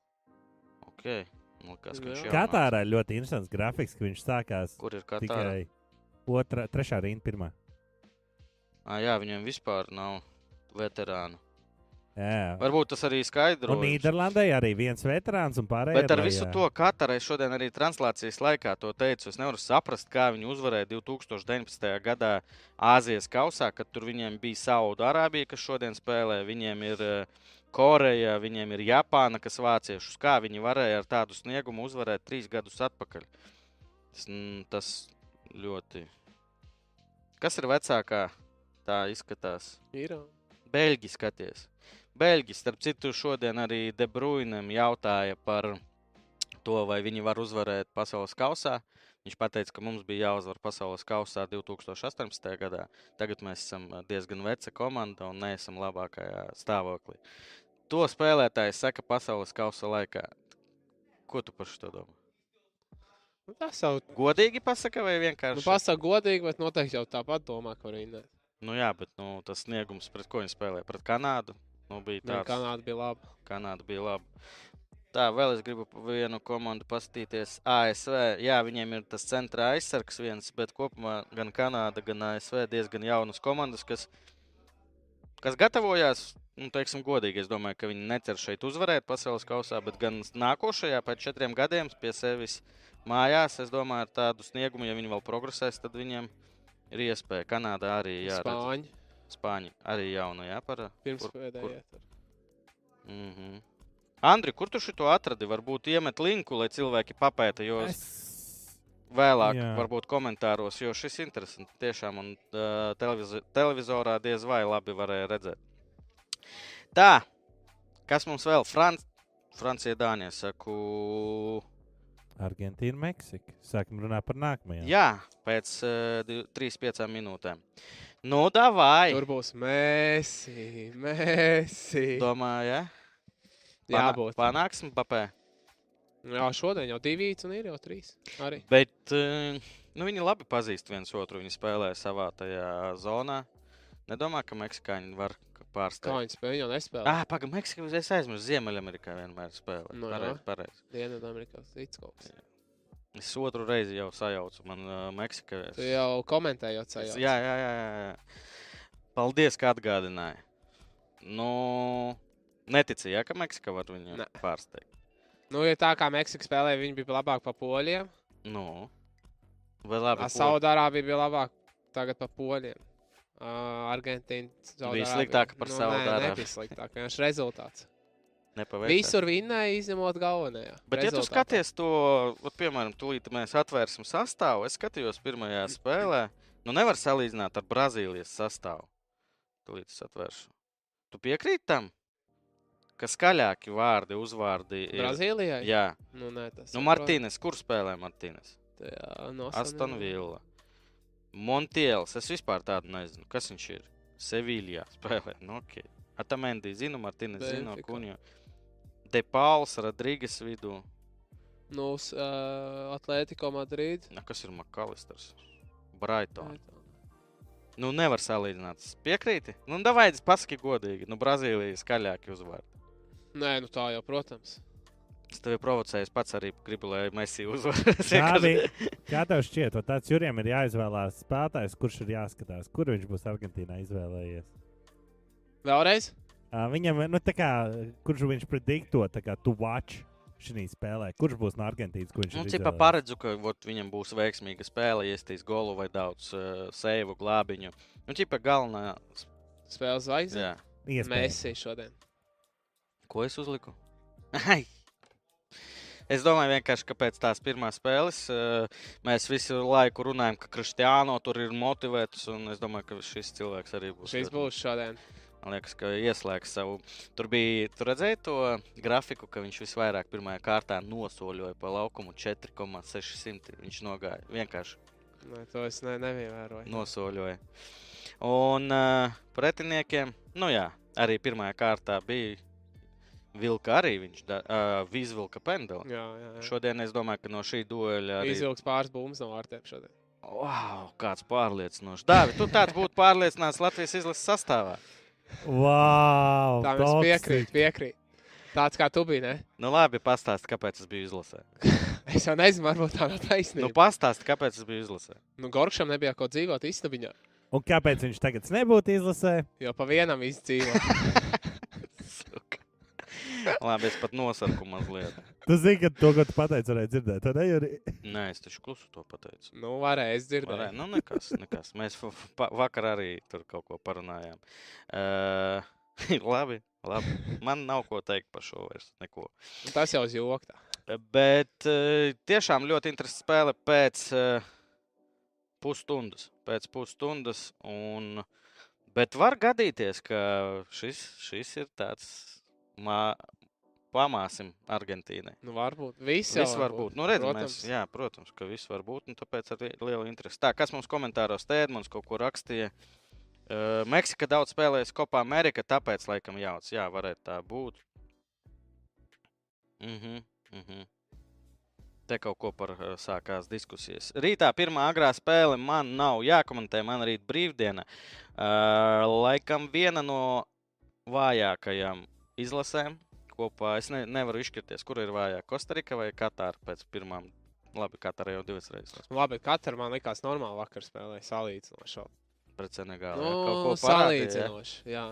Speaker 1: Ok. Nu, kas,
Speaker 2: Jā.
Speaker 1: jā.
Speaker 3: Katārā ir ļoti interesants grafiks, ka viņš sākās
Speaker 1: Kur ir Katāra?
Speaker 3: tikai otrā, trešā rinda, pirmā.
Speaker 1: Ah, jā, viņam vispār nav veterānu.
Speaker 3: Jā.
Speaker 1: Varbūt tas arī
Speaker 3: Un
Speaker 1: skaidro.
Speaker 3: Nīderlandē arī viens veterāns un pārējie.
Speaker 1: Bet ar
Speaker 3: ir
Speaker 1: visu
Speaker 3: lejā.
Speaker 1: to Katarai šodien arī translācijas laikā to teicu. Es nevaru saprast, kā viņi uzvarēja 2019. gadā Āzijas kausā, kad tur viņiem bija Saudārābija, kas šodien spēlē, viņiem ir eh, Koreja, viņiem ir Japāna, kas vāciešus. Kā viņi varēja ar tādu sniegumu uzvarēt trīs gadus atpakaļ? Tas, mm, tas ļoti. Kas ir vecākā? Tā izskatās.
Speaker 2: Ir.
Speaker 1: Beļģi skaties. Beļģi, starp citu, šodien arī De Bruinam jautāja par to, vai viņi var uzvarēt pasaules kausā. Viņš teica, ka mums bija jāuzvar pasaules kausā 2018. gadā. Tagad mēs esam eh, diezgan veca komanda un neesam labākajā stāvoklī. To spēlētājs saka pasaules kausa laikā. Ko tu par šo domā?
Speaker 2: Nu, tas jau.
Speaker 1: Godīgi pasaka, vai vienkārši?
Speaker 2: Nu, Pasaka godīgi, bet noteikti jau tāpat domā, ka viņi neticu.
Speaker 1: Nu, jā, bet nu, tas sniegums, pret ko viņi spēlēja, pret Kanādu, nu, bija tāds.
Speaker 2: Kanāda bija laba.
Speaker 1: Kanāda bija laba. Tā, vēl es gribu pa vienu komandu paskatīties. ASV, jā, viņiem ir tas centra aizsargs viens, bet kopumā gan Kanāda, gan ASV diezgan jaunas komandas, kas, kas gatavojās. Nu, teiksim, godīgi, es domāju, ka viņi necer šeit uzvarēt pasaules kausā, bet gan nākošajā, pēc četriem gadiem, pie sevis mājās, es domāju, ar tādu sniegumu, ja viņi vēl progresēs, tad viņiem ir iespēja. Kanāda arī, jā, redz,
Speaker 2: Spāņi.
Speaker 1: Spāņi arī jauna, jā, par
Speaker 2: Pirms
Speaker 1: kur-
Speaker 2: pēdējā.
Speaker 1: Mm -hmm. Andri, kur tu šo atradi? Varbūt iemet linku, lai cilvēki papēta, jo es...
Speaker 3: Es-
Speaker 1: vēlāk, Jā.
Speaker 3: jā.
Speaker 1: varbūt komentāros, jo šis interesants tiešām un uh, televiz televizorā diez vai labi varēja redzēt. Tā, kas mums vēl? Franc Francija, Dānija, saku.
Speaker 3: Argentīna, Meksika. Sākam runāt par nākamajām.
Speaker 1: Jā, pēc uh, 3-5 minūtēm. Nu, davai!
Speaker 2: Tur būs mēsī, mēsī.
Speaker 1: Domāju, ja?
Speaker 2: Jā, būs.
Speaker 1: Panāksim, papē.
Speaker 2: Jā, šodien jau divi un ir jau trīs. Arī.
Speaker 1: Bet eh, nu, viņi labi pazīst viens otru. Viņi spēlē savā tajā zonā. Nedomā, ka meksikāņi var k-
Speaker 2: Kā
Speaker 1: pārstāvēt.
Speaker 2: viņi spēja, jau nespēlē.
Speaker 1: Ah, pagaidi, Meksika jau aizmirst. Ziemeļamerikā vienmēr spēlē.
Speaker 2: Nu
Speaker 1: No,
Speaker 2: jā.
Speaker 1: pareiz, pareiz.
Speaker 2: Dienvidamerikā cits kaut kas.
Speaker 1: Es otru reizi jau sajaucu. Man uh, Meksika es-
Speaker 2: Tu jau komentējot,
Speaker 1: es-
Speaker 2: sajauc.
Speaker 1: Jā, jā, jā, jā, jā. Paldies, ka atgādināji. Nu, netici, ja, ka Meksika var viņu
Speaker 2: Nē.
Speaker 1: pārsteigt.
Speaker 2: Nu, ja tā kā Meksika spēlēja, viņi bija labāk pa poļiem.
Speaker 1: Nu, vai labi? Saud...
Speaker 2: Saudārābija bija labāk tagad pa poļiem. Uh, Argentīna
Speaker 1: sliktāka par
Speaker 2: nu, nē,
Speaker 1: Saudārābiju.
Speaker 2: Nebija sliktāka, vienkārši rezultāts.
Speaker 1: Nepaveicās.
Speaker 2: Visur vinnēja, izņemot galvenajā.
Speaker 1: Bet, ja tu
Speaker 2: rezultātā.
Speaker 1: skaties to, ot, piemēram, tūlīt mēs atvērsim sastāvu, es skatījos pirmajā spēlē, nu nevar salīdzināt ar Brazīlijas sastāvu. Tūlīt es atvēršu. Tu piekrīti tam, ka skaļāki vārdi, uzvārdi ir.
Speaker 2: Brazīlijai?
Speaker 1: Jā,
Speaker 2: Nu, nē, tas
Speaker 1: nu
Speaker 2: ir
Speaker 1: Martīnes, kur spēlē Martīnes?
Speaker 2: prot- Jā, nu, no
Speaker 1: Aston Villa. Montiels, es vispār tādu nezinu, kas viņš ir. Seviljā spēlē, nu ok. Atamendi zinu, Martīnes zinu,
Speaker 2: Benfica.
Speaker 1: Kunjo. Depauls, Rodrīgas vidū.
Speaker 2: Nu, uz uh, Atlētico Madrīd.
Speaker 1: Nu, kas ir Makalisters? Brightons. Nu, nevar salīdzināt. Piekrīti? Nu, davai, pasaki godīgi. Nu, Brazīlija skaļāki uzvar.
Speaker 2: Nē, nu tā jau, protams.
Speaker 1: Es tevi provocēju, es pats arī gribu, lai Messi uzvarētu.
Speaker 3: Šādi, kā tev šķiet, vai tāds jūrijam ir jāizvēlās spēlētājs, kurš ir jāskatās, kur viņš būs Argentīnā izvēlējies?
Speaker 2: Vēlreiz?
Speaker 3: Uh, viņam, nu, tā kā, kurš viņš predikto, tā kā tu watch šī spēlē, kurš būs no Argentīnas, kurš viņš
Speaker 1: Nu,
Speaker 3: ir
Speaker 1: Cipa
Speaker 3: izvēlējies?
Speaker 1: paredzu, ka vot, viņam būs veiksmīga spēle, iestīs golu vai daudz uh, sēvu glābiņu. Nu, cipa galvenā. s-
Speaker 2: Spēles zvaigznes.
Speaker 1: Jā.
Speaker 3: Iespējams.
Speaker 2: Mēsī šodien.
Speaker 1: Ko es uzliku? Ai! Es domāju, vienkārši pēc tās pirmās spēles eh, mēs visu laiku runājam, ka Kristiāno tur ir motivēts. un Es domāju, ka šis cilvēks arī būs.
Speaker 2: Šis būs šodien.
Speaker 1: Man liekas, ka ieslēgs savu. Tur bija, tur redzēja to grafiku, ka viņš visvairāk pirmajā kārtā nosoļoja pa laukumu 4,600. Viņš nogāja vienkārši
Speaker 2: Nē, to es ne, nevēroju.
Speaker 1: nosoļoja. Un uh, pretiniekiem, nu jā, arī pirmajā kārtā bija vilka arī viņš uh, izvilka pendeli.
Speaker 2: Jā, jā. jā.
Speaker 1: Šodien es domāju, ka no šī dueļa arī...
Speaker 2: Izvilks pāris bumbas no vārtiem šodien.
Speaker 1: Wow, kāds pārliecinošs. Dāvi, tu tāds būtu pārliecināts Latvijas izlases sastāvā.
Speaker 3: Wow,
Speaker 2: Tā mēs piekrītam, piekrītam. Tāds kā tu biji, ne?
Speaker 1: Nu labi, pastāsti, kāpēc es biju izlasē.
Speaker 2: Es jau nezinu, varbūt tā nav
Speaker 1: Nu
Speaker 2: taisnība. Nu,
Speaker 1: pastāsti, kāpēc es biju izlasē.
Speaker 2: nu Gorkšam nebija ko dzīvot istabiņā,
Speaker 3: Un kāpēc viņš tagad nebūtu izlasē?
Speaker 2: jo pa vienam izdzīvo.
Speaker 1: Suka. Labi, es pat nosaucu mazliet.
Speaker 3: Tu zini, ka to, ko tu pateici, varēja dzirdēt. vai ne, Juri?
Speaker 1: Nē, es taču klusu to pateicu.
Speaker 2: nu, varēja, es
Speaker 1: Varēja,
Speaker 2: dzirdēju.
Speaker 1: nu, nekas, nekas. Mēs fa- fa- pa- vakar arī tur kaut ko parunājām. Uh, labi, labi. Man nav ko teikt par šo vairs. Neko.
Speaker 2: Un Nu, Tas jau uz joku. tā.
Speaker 1: Э, Bet eh, tiešām ļoti interesanti spēle pēc eh, pusstundas. Pēc pusstundas un, bet var gadīties, ka šis, šis ir tāds mā, pamāsim Argentīnai.
Speaker 2: Nu, varbūt. Viss, jau
Speaker 1: Viss var būt. Nu, redz, protams.
Speaker 2: Protams.
Speaker 1: Mēs, jā, protams, ka viss var būt. un Tāpēc ar li- lielu interesi. Tā, kas mums komentāros te Edmunds kaut ko rakstīja? Uh, Meksika daudz spēlējas Kopā Amerikā, tāpēc laikam jauts. Jā, varētu tā būt. Mhm. Mm mhm. Mm Te kaut ko par uh, sākās diskusijas. Rītā pirmā agrā spēle man nav jākomentē. Man rīt brīvdiena. Uh, laikam viena no vājākajām izlasēm kopā. Es ne, nevaru izšķirties, kur ir vājāk. Kostarika vai Katāra pēc pirmām. Labi, Katāra jau divas reizes
Speaker 2: Nu, Labi, katra man likās normāli vakar spēlēja salīdzinoši. vēl.
Speaker 1: pret Senegālu. jā, kaut
Speaker 2: Nu,
Speaker 1: ko parādīja, jā.
Speaker 2: salīdzinoši, jā.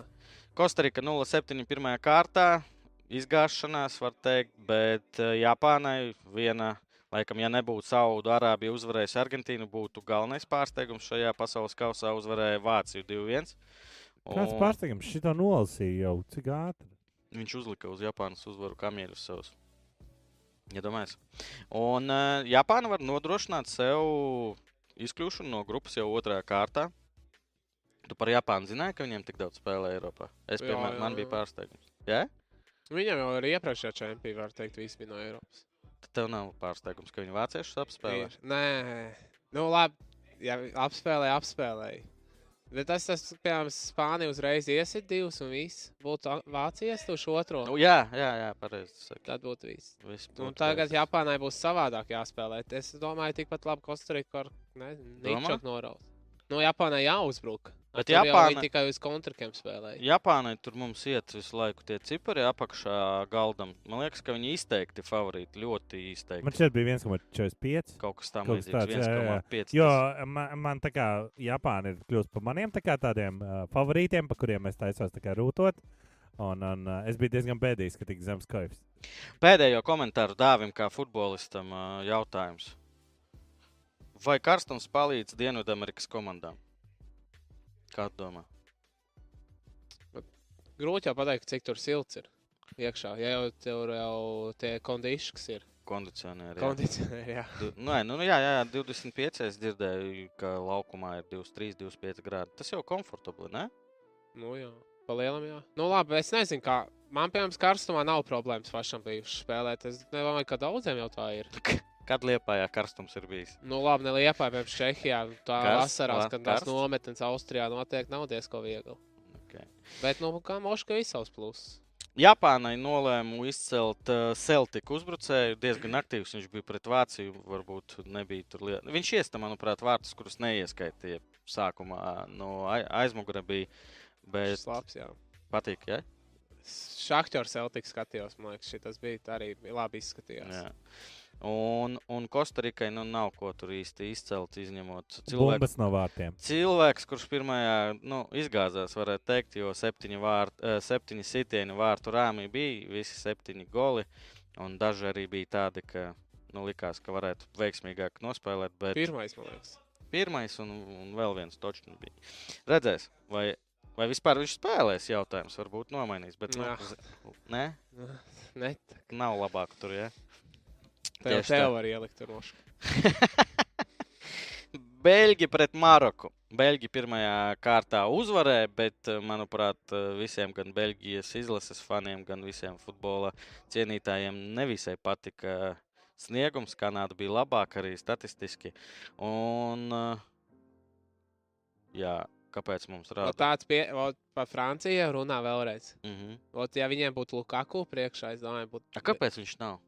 Speaker 1: Kostarika 0-7 pirmajā kārtā. Izgāšanās var teikt, bet eh, Japānai viena, laikam, ja nebūtu Saudu Arābija uzvarējusi Argentīnu, būtu galvenais pārsteigums šajā pasaules kausā uzvarēja Vāciju 2-1.
Speaker 3: Kāds
Speaker 1: Un
Speaker 3: pārsteigums šito nolasīja jau cik ātri?
Speaker 1: Viņš uzlika uz Japānas uzvaru kamieļus savus. Iedomājieties. Un uh, Japāna var nodrošināt sev izkļūšanu no grupas jau otrajā kārtā. Tu par Japānu zināji, ka viņiem tik daudz spēlē Eiropā. Es
Speaker 2: Jā,
Speaker 1: piemēram,
Speaker 2: jā,
Speaker 1: man bija
Speaker 2: jā.
Speaker 1: pārsteigums. Jā?
Speaker 2: Viņam jau arī iepriekšējā čempionā, var teikt, viss bija no Eiropas.
Speaker 1: Tad tev nav pārsteigums, ka viņi vāciešus apspēlē.
Speaker 2: Ir. Nē, nu labi. Jā, apspēlēja, apspēlēja. Bet tas, tas piemēram, Spānija uzreiz iesit divus un viss. Būtu a- Vācija iestuši otro.
Speaker 1: Nu, jā, jā, jā pareizi. tu saki.
Speaker 2: Tad būtu viss.
Speaker 1: Viss
Speaker 2: Un
Speaker 1: būtu
Speaker 2: Nu, tagad
Speaker 1: pareizi.
Speaker 2: Japānai būs savādāk jāspēlē. Es domāju, tikpat labi Kostarika ar
Speaker 1: Domā?
Speaker 2: Nīčaku noraut. No Nu, Japānai jāuzbruk.
Speaker 1: Bet
Speaker 2: Tur jau
Speaker 1: Japāna-
Speaker 2: viņi tikai uz kontrakiem spēlēja.
Speaker 1: Japānai tur mums iet visu laiku tie cipari apakšā galdam. Man liekas, ka viņi izteikti favorīti, ļoti izteikti.
Speaker 3: Man šeit bija 1,45.
Speaker 1: Kaut kas tam
Speaker 3: Kaut kas
Speaker 1: līdzīgs,
Speaker 3: tāds, jā, jā, jā.
Speaker 1: 1,5.
Speaker 3: Jo man, man tā kā Japāna ir kļuvusi par maniem tā kā tādiem uh, favorītiem, pa kuriem es taisos tā kā rūtot. Un, un uh, es biju diezgan bēdīgs, ka tik zems koeficients.
Speaker 1: Pēdējo komentāru dāvim, kā futbolistam, ā, jautājums. Vai karstums palīdz Dienvidamerikas komandām? Kā tu domā?
Speaker 2: Grūti jau pateikt, cik tur silts ir. iekšā. Ja jau tur jau tie kondīši, kas ir.
Speaker 1: Kondicionēri. jā.
Speaker 2: Kondicionēri, jā.
Speaker 1: Du- Nē, nu, nu jā, jā, jā, 25. Es dzirdēju, ka laukumā ir 23, 25 grādi. Tas jau komfortabli, ne?
Speaker 2: Nu, jā. Palielam, jā. Nu, labi, es nezinu, kā. Man, piemēram, karstumā nav problēmas pašam bijuši spēlēt. Es nedomāju, ka daudziem jau tā ir.
Speaker 1: Kad liepājā karstums ir bijis?
Speaker 2: Nu, labi, neliepā, piemēram, Čehijā. nu, Tā
Speaker 1: Karsts,
Speaker 2: vasarās,
Speaker 1: la-
Speaker 2: kad tās
Speaker 1: karsts.
Speaker 2: nometnes Austrijā notiek, nav diezko viegli.
Speaker 1: Okay.
Speaker 2: Bet, nu, kā Moška ir savs pluss.
Speaker 1: Japānai nolēmu izcelt uh, Celtiku uzbrucēju. Diezgan aktīvs viņš bija pret Vāciju. Varbūt nebija tur liela. Viņš iesta, manuprāt, vārtus, kurus neieskaitīja sākumā. No ai- aizmugure bija. Bet
Speaker 2: Viņš labs, jā.
Speaker 1: patīk, ja?
Speaker 2: Šaktors Celtics skatījos, man liekas, šitas bija arī labi izskatījās.
Speaker 1: Jā. Un, un Kostarikai nu, nav ko tur īsti izcelt, izņemot cilvēku.
Speaker 3: Bumbas no vārtiem.
Speaker 1: Cilvēks, kurš pirmajā nu, izgāzās, varētu teikt, jo septiņi, vārt, eh, septiņi sitieni vārtu rāmī bija, visi septiņi goli. Un daži arī bija tādi, ka nu, likās, ka varētu veiksmīgāk nospēlēt. Bet Pir
Speaker 2: Pirmais, man liekas.
Speaker 1: pirmais un, un vēl viens točs nu bija. Redzēs, vai, vai vispār viņš spēlēs, jautājums varbūt nomainīs. Bet nu,
Speaker 2: Jā.
Speaker 1: z- ne,
Speaker 2: Ne,
Speaker 1: nav labāk tur. Ja?
Speaker 2: tev,
Speaker 1: Tieši tā.
Speaker 2: tev var ielikt tur mošu.
Speaker 1: Beļģi pret Maroku. Beļģi pirmajā kārtā uzvarēja, bet, eh, manuprāt, eh, visiem gan Beļģijas izlases faniem, gan visiem futbola cienītājiem nevisai patika eh, sniegums. Kanāda bija labāka arī statistiski. Un, eh, jā, kāpēc mums rāda?
Speaker 2: Tāds pie, ot, pa Francijai runā vēlreiz.
Speaker 1: Mhm.
Speaker 2: Ot, ja viņiem būtu Lukaku priekšā, es domāju, būtu.
Speaker 1: A, Kāpēc viņš nav?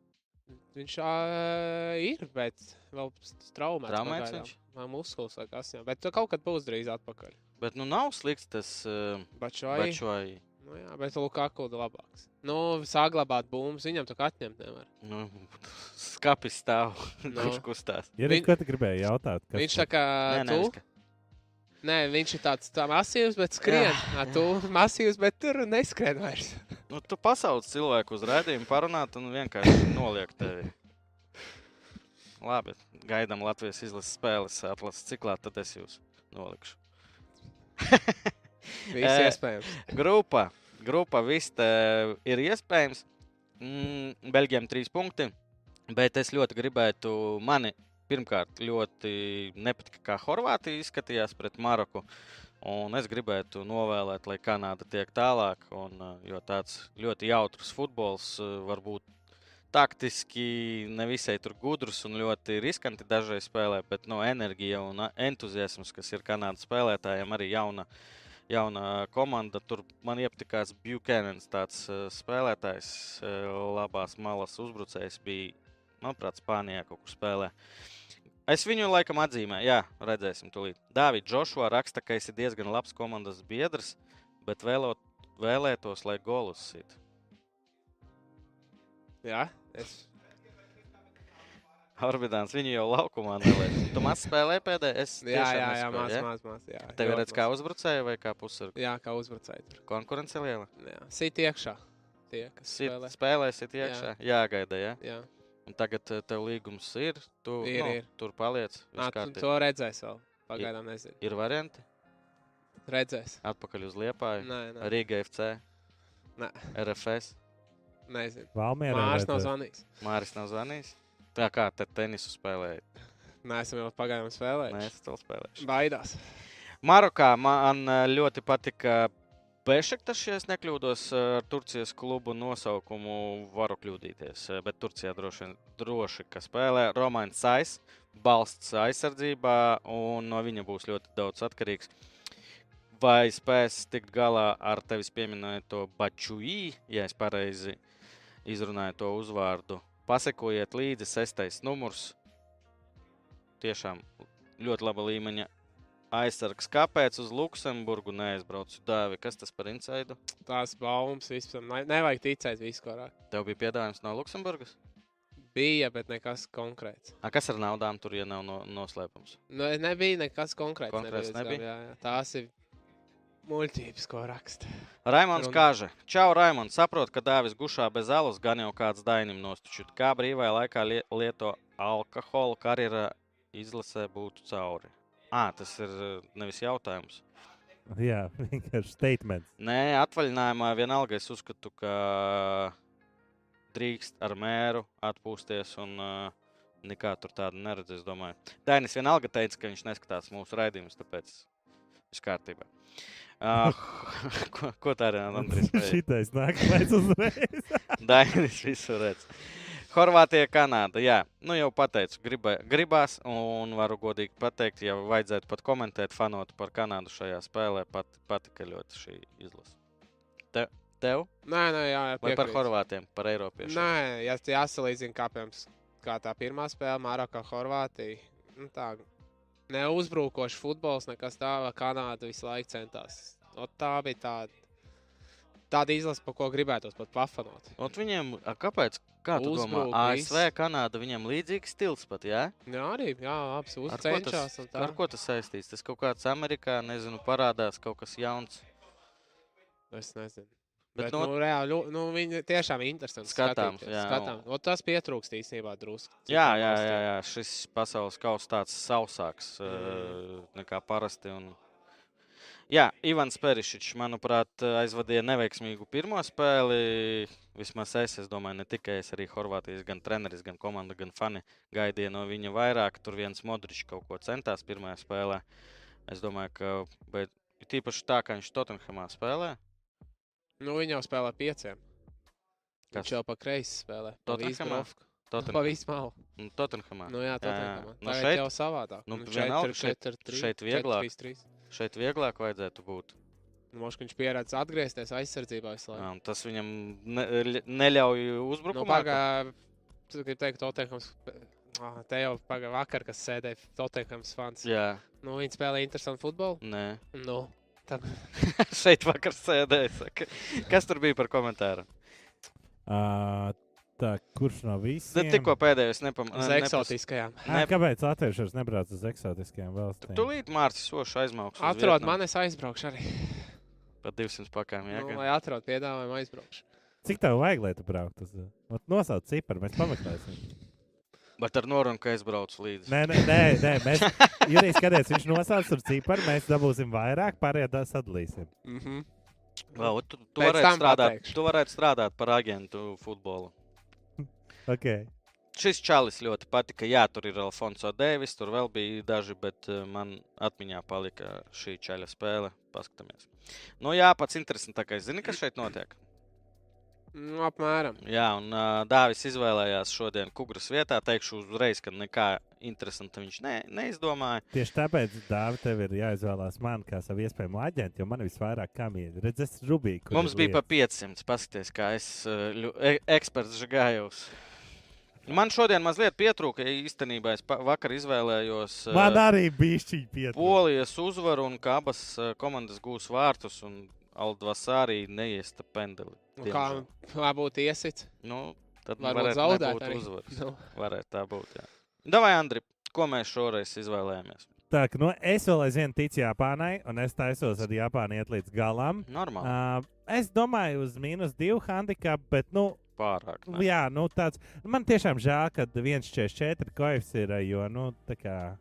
Speaker 2: Viņš ā, ir, bet vēl s- traumēts.
Speaker 1: Traumēts
Speaker 2: pagaidām.
Speaker 1: viņš?
Speaker 2: Man muskulis vai kas jau. Bet tu kaut kad būs drīz atpakaļ.
Speaker 1: Bet nu nav slikts tas eh, bačovai.
Speaker 2: Bačovai. Nu, jā, bet Lukaku ir labāks. Nu, saglabāt bumbas viņam tā kā atņemt nevar.
Speaker 1: Nu, skapis stāv,
Speaker 2: Nu.
Speaker 1: kurš kustās.
Speaker 3: Ja
Speaker 2: Viņ-
Speaker 3: Viņ... ko tu gribēji jautāt? Kas
Speaker 2: Viņš
Speaker 3: tu-
Speaker 2: tā kā.
Speaker 1: Nē, nē,
Speaker 2: tu?
Speaker 1: es-
Speaker 2: Nē, viņš ir tāds tā masīvs, bet skrien. Jā, jā. Tu masīvs, bet tur neskrien vairs.
Speaker 1: Nu, tu pasauc cilvēku uz redzējumu, parunāt, un vienkārši noliek tevi. Labi, gaidām Latvijas izlases spēles atlases ciklā, tad es jūs nolikšu.
Speaker 2: Viss
Speaker 1: Ē.
Speaker 2: iespējams.
Speaker 1: Grupa, grupa viss te ir iespējams. Mm, Beļģiem trīs punkti, bet es ļoti gribētu mani. Pirmkārt, ļoti nepatika, kā Horvātija izskatījās pret Maroku. Un es gribētu novēlēt, lai Kanāda tiek tālāk, un, eh, jo tāds ļoti jautrs futbols eh, var būt taktiski nevisai tur gudrs un ļoti riskanti dažreiz spēlē, bet no enerģija un eh, entuziasms, kas ir Kanādas spēlētājiem, arī jauna, jauna komanda. Tur man iepatikās Buchanans, tāds eh, spēlētājs, eh, labās malas uzbrucējs bija, manuprāt, Spānijā kaut kur spēlē. Es viņu laikam atzīmēju, jā, redzēsim, tūlīt. Dāvids Joshua raksta, ka esi diezgan labs komandas biedrs, bet vēlot, vēlētos, lai golus sit.
Speaker 2: Jā, es.
Speaker 1: Orbidāns viņu jau laukumā nelaiž. Tu maz spēlēji pēdējā? Es
Speaker 2: Jā,
Speaker 1: tiešām
Speaker 2: jā, jā,
Speaker 1: nespēlēju,
Speaker 2: maz,
Speaker 1: ja?
Speaker 2: maz, maz. jā.
Speaker 1: Tev
Speaker 2: Ļoti
Speaker 1: redz kā uzbrucēja vai kā pusargu?
Speaker 2: maz. Jā, kā uzbrucēji tur.
Speaker 1: Konkurence liela.
Speaker 2: Jā, sit iekšā. Tie, kas
Speaker 1: Sit,
Speaker 2: spēlē.
Speaker 1: spēlēsit iekšā. Jā, gaida, jā.
Speaker 2: Jā,
Speaker 1: Un tagad eh, tev līgums ir, tu
Speaker 2: Ir,
Speaker 1: nu,
Speaker 2: ir.
Speaker 1: tur paliec.
Speaker 2: Nā,
Speaker 1: viss
Speaker 2: tu,
Speaker 1: kārtībā.
Speaker 2: to redzēs vēl. Pagaidām nezinu.
Speaker 1: Ir varianti?
Speaker 2: Redzēs.
Speaker 1: Atpakaļ uz Liepāju.
Speaker 2: Nē, nē,
Speaker 1: Rīga FC,
Speaker 2: nē
Speaker 1: RFS.
Speaker 2: nezinu.
Speaker 3: Valmierā
Speaker 2: Mārs nav
Speaker 3: redzēs?
Speaker 2: zvanījis.
Speaker 1: Māris nav zvanījis. Tā kā te tenisu spēlēja.
Speaker 2: Nē, esam jau pagaidām
Speaker 1: Nē,
Speaker 2: spēlējuši.
Speaker 1: es to spēlēju.
Speaker 2: Baidās.
Speaker 1: Marokā man eh, ļoti patika Bešaktas, ja es nekļūdos, ar Turcijas klubu nosaukumu varu kļūdīties. eh, Bet Turcijā droši, vien- droši ka spēlē Romanis Sais, balsts aizsardzībā, un no viņa būs ļoti daudz atkarīgs. Vai spēs tikt galā ar tevis pieminēto Bačuī, ja es pareizi izrunāju to uzvārdu? Pasekojiet līdzi sestais numurs. Tiešām ļoti laba līmeņa aizsargs. Kāpēc uz Luksemburgu neaizbraucu dāvi? Kas tas par insaidu?
Speaker 2: Tās baumas vispār. ne- Nevajag ticēt viskorā.
Speaker 1: Tev bija piedāvājums no Luksemburgas?
Speaker 2: Bija, bet nekas konkrēts.
Speaker 1: A, kas ar naudām tur, ja nav no, noslēpums?
Speaker 2: Nu, nebija nekas konkrēts.
Speaker 1: Konkrēts
Speaker 2: nebija,
Speaker 1: nebija?
Speaker 2: Jā, jā. Tās ir muļķības, ko raksta.
Speaker 1: Raimons
Speaker 2: Runa.
Speaker 1: Kāža. Čau, Raimons. Saprotu, ka dāvis gušā bez alus gan jau kāds dainim nostučīt. Kā brīvajā laikā lie lieto alkoholu karjerā izlasē būtu cauri? Ā, tas ir eh, nevis jautājums.
Speaker 3: Jā, vienkārši statements.
Speaker 1: Nē, atvaļinājumā vienalga es uzskatu, ka drīkst ar mēru atpūsties un uh, nekā tur tādu neredz. Es domāju, Dainis vienalga teica, ka viņš neskatās mūsu raidījumus, tāpēc viss kārtībā. Uh, ko, ko tā ir? Andris, teica?
Speaker 3: Šitais nākamais uzreiz.
Speaker 1: Dainis visu redz. Horvātija, Kanāda. Jā, nu jau pateicu, griba, gribās, un varu godīgi pateikt, ja vajadzētu pat komentēt, fanot par Kanādu šajā spēlē, pat, patika ļoti šī izlase. Te, tev
Speaker 2: Nē, nē, jā, jā
Speaker 1: vai par
Speaker 2: piekrītu.
Speaker 1: Horvātiem, par Eiropiešiem?
Speaker 2: Nē, jā, jāsalīdzina, kāpēc kā tā pirmā spēle Marokā, Horvātija. Nu, tā neuzbrukošs futbols, nekas tāds, Kanāda visu laiku centās. O, tā bija tāda, tāda izlase, par ko gribētos pat pafanot.
Speaker 1: Un viņiem, a, kāpēc? Kā tu domā,
Speaker 2: Uzbruk,
Speaker 1: ASV,
Speaker 2: viss.
Speaker 1: Kanāda, viņiem līdzīgs stils pat, jā?
Speaker 2: Jā, Nu, arī jā, absolūti
Speaker 1: Ar ko tas-
Speaker 2: cenšas. un tā.
Speaker 1: Ar ko tas saistīts? Tas kaut kāds Amerikā, nezinu, parādās kaut kas jauns.
Speaker 2: Es nezinu.
Speaker 1: Bet
Speaker 2: Bet, bet
Speaker 1: no-
Speaker 2: no... nu, reāli, ļo- nu, viņi tiešām interesanti
Speaker 1: Skatāms,
Speaker 2: skatīties,
Speaker 1: jā,
Speaker 2: skatām. O, tas pietrūkst īstenībā drusku. cik
Speaker 1: Jā,
Speaker 2: tā
Speaker 1: jā,
Speaker 2: valstī.
Speaker 1: jā, jā, šis pasaules kausa tāds sausāks mm.
Speaker 2: Mm.
Speaker 1: nekā parasti. Un... Jā, Ivans Perišičs, manuprāt, aizvadīja neveiksmīgu pirmo spēli. Vismaz es, es domāju, ne tikai es, arī Horvātijas, gan treneris, gan komanda, gan fani gaidīja no viņa vairāk. Tur viens Modričs kaut ko centās pirmajā spēlē. Es domāju, ka bet, tīpaši tā, kā viņš Tottenhamā spēlē,
Speaker 2: Nu, viņi jau spēlē pieciem.
Speaker 1: Kas?
Speaker 2: Viņš jau pa kreisi spēlē.
Speaker 1: Tottenhamā?
Speaker 2: Pa
Speaker 1: Totten...
Speaker 2: visu malu.
Speaker 1: nu, Tottenhamā.
Speaker 2: Nu, jā, tā
Speaker 1: Jā,
Speaker 2: ir.
Speaker 1: nu
Speaker 2: Tā
Speaker 1: šeit-
Speaker 2: ir jau savādāk.
Speaker 1: nu, vienalga,
Speaker 2: 4,
Speaker 1: šeit-
Speaker 2: 4, 3.
Speaker 1: šeit vieglāk.
Speaker 2: 3.
Speaker 1: šeit vieglāk vajadzētu būt.
Speaker 2: Nu, Mošs, viņš pieredz atgriezties aizsardzībā visu
Speaker 1: Jā,
Speaker 2: laiku.
Speaker 1: un tas viņam ne, ļa- neļauj
Speaker 2: Nu,
Speaker 1: uzbrukumā. ka-
Speaker 2: pagā, tu gribi teikt, Tottenhams, ah, te jau pagā vakar, kas sēdēja Tottenhams fans.
Speaker 1: Jā,
Speaker 2: Nu, viņi spēlē interesantu futbolu.
Speaker 1: nē.
Speaker 2: Nu, tad
Speaker 1: Šeit vakar sēdēja. Saka. Kas tur bija par komentāru?
Speaker 3: Ā, Tā, kurš no
Speaker 1: Nu,
Speaker 3: visiem?
Speaker 1: Tikko pēdējais nepamanīja.
Speaker 2: uz eksotiskajām.
Speaker 3: Ā,
Speaker 1: ne-
Speaker 3: Kāpēs attiekšos nebrauc uz eksotiskajām valstīm?
Speaker 1: Tūlīt Mārcis Soša aizmauks. uz
Speaker 2: Atrod
Speaker 1: Vietnamu.
Speaker 2: man, es aizbraukšu arī.
Speaker 1: Pat 200 pakām
Speaker 2: Nu,
Speaker 1: jāgaida.
Speaker 2: lai atrod piedāvājumu, aizbraukšu.
Speaker 3: Cik tev vajag, lai tu brauktu? uz- Ot, Nosauc cipari, mēs pameklēsim.
Speaker 1: Bet ar norunu, ka es braucu līdzi.
Speaker 3: Nē, nē, nē, nē mēs. Jurijs, skaties, viņš nosauc ar cipari, mēs dabūsim vairāk, pārējā tā sadalīsim.
Speaker 2: Mm -hmm.
Speaker 1: Vau, tu, tu,
Speaker 2: Pēc
Speaker 1: varētu
Speaker 2: tam
Speaker 1: strādāt,
Speaker 2: pateikšu.
Speaker 1: tu varētu strādāt par agentu futbolu.
Speaker 3: Okay.
Speaker 1: Šis čalis ļoti patika. Jā, tur ir Alfonso Deivis, tur vēl bija daži, bet eh, man atmiņā palika šī čaļa spēle. Paskatāmies. Nu, jā, pats interesantākais. Zini, kas šeit notiek?
Speaker 2: nu, apmēram.
Speaker 1: Jā, un uh, Dāvis izvēlējās šodien Kungras vietā. Teikšu uzreiz, ka nekā interesanta viņš ne, neizdomāja.
Speaker 3: Tieši tāpēc, Dārvid, tev ir jāizvēlās man kā savu iespējamo aģentu, jo man visvairāk kam ir. Redzēs, Rubīka.
Speaker 1: Mums bija pa 500. Paskaties, kā es eh, ļu- e- eksperts žagājos. Man šodien mazliet pietrūka. Īstenībā es pa- vakar izvēlējos eh,
Speaker 3: Man arī bija šī pietai.
Speaker 1: Polijas uzvaru un ka abas eh, komandas gūs vārtus. un Aldvas arī neiesta pendeli.
Speaker 2: Nu, Kā
Speaker 1: Diemžēl.
Speaker 2: lai būtu iesits,
Speaker 1: Nu, tad varētu
Speaker 2: varbūt zaudēt.
Speaker 1: nebūt
Speaker 2: arī.
Speaker 1: uzvaras.
Speaker 2: Nu,
Speaker 1: Varētu tā būt. Jā. Davai, Andri, ko mēs šoreiz izvēlējāmies?
Speaker 3: Tā, ka, nu, es vēl aizvien ticu Japānai, un es taisos ar Japānu iet līdz galam.
Speaker 1: Normāli.
Speaker 3: Uh, es domāju, uz mīnus divu handikapu, bet, nu,
Speaker 1: Pārāk.
Speaker 3: Nu,
Speaker 1: ne?
Speaker 3: Jā, nu tāds. Man tiešām žēl, ka 1,44 koeficis ir, jo, nu, tā kā.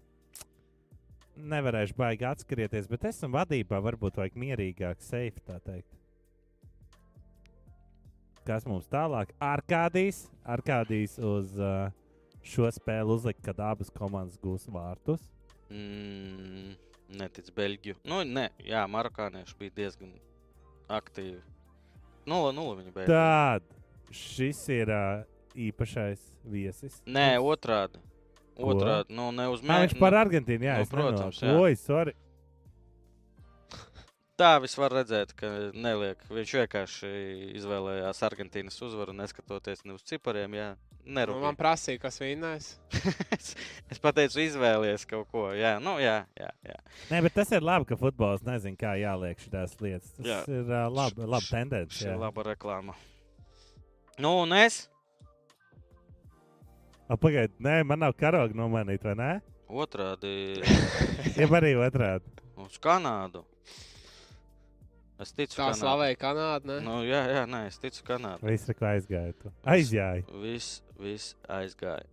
Speaker 3: Nevarēšu baigi atskrieties, bet esmu vadībā. Varbūt vajag mierīgāk, safe, tā teikt. Kas mums tālāk? Arkādijas. Arkādijas uz uh, šo spēli uzlikt, kad abas komandas gūs vārtus.
Speaker 1: Mm, netic Beļģiju. Nu, ne, jā, marokānieši bija diezgan aktīvi. Nula, nula viņa beigās.
Speaker 3: Tad šis ir uh, īpašais viesis.
Speaker 1: Nē, otrādi.
Speaker 3: Ko?
Speaker 1: Otrādi, nu, ne uz
Speaker 3: Nē, viņš
Speaker 1: mēnešu.
Speaker 3: par Argentīnu, jā,
Speaker 1: Nu,
Speaker 3: nu,
Speaker 1: protams,
Speaker 3: protams.
Speaker 1: jā.
Speaker 3: Oi, sorry.
Speaker 1: Tā viss var redzēt, ka neliek. Viņš vienkārši izvēlējās Argentīnas uzvaru, neskatoties ne uz cipariem. Jā,
Speaker 2: nu, man
Speaker 1: nerūpīgi.
Speaker 2: prasīja, kas vinnēs.
Speaker 1: es, es pateicu, izvēlējies kaut ko. Jā, nu, jā, jā. jā.
Speaker 3: Nē, bet tas ir labi, ka futbols nezina, kā jāliek šīs lietas. Tas
Speaker 1: Jā.
Speaker 3: jā. ir uh, labi,
Speaker 1: Š-
Speaker 3: labi
Speaker 1: š-
Speaker 3: tendence.
Speaker 1: Šī ir
Speaker 3: jā.
Speaker 1: laba reklāma. Nu, un es
Speaker 3: A, Pagaid, nē, man nav karoga nomainīt, vai ne?
Speaker 1: otrādi
Speaker 3: Jā, arī otrādi.
Speaker 1: uz Kanādu. Es ticu,
Speaker 2: Tā
Speaker 1: ka
Speaker 2: slavēja Kanādu. Ne?
Speaker 1: Nu, jā, jā, nē, es ticu Kanādā.
Speaker 3: Viss ir kā aizgāja. tu. Aizjāja.
Speaker 1: Viss, viss aizgāja.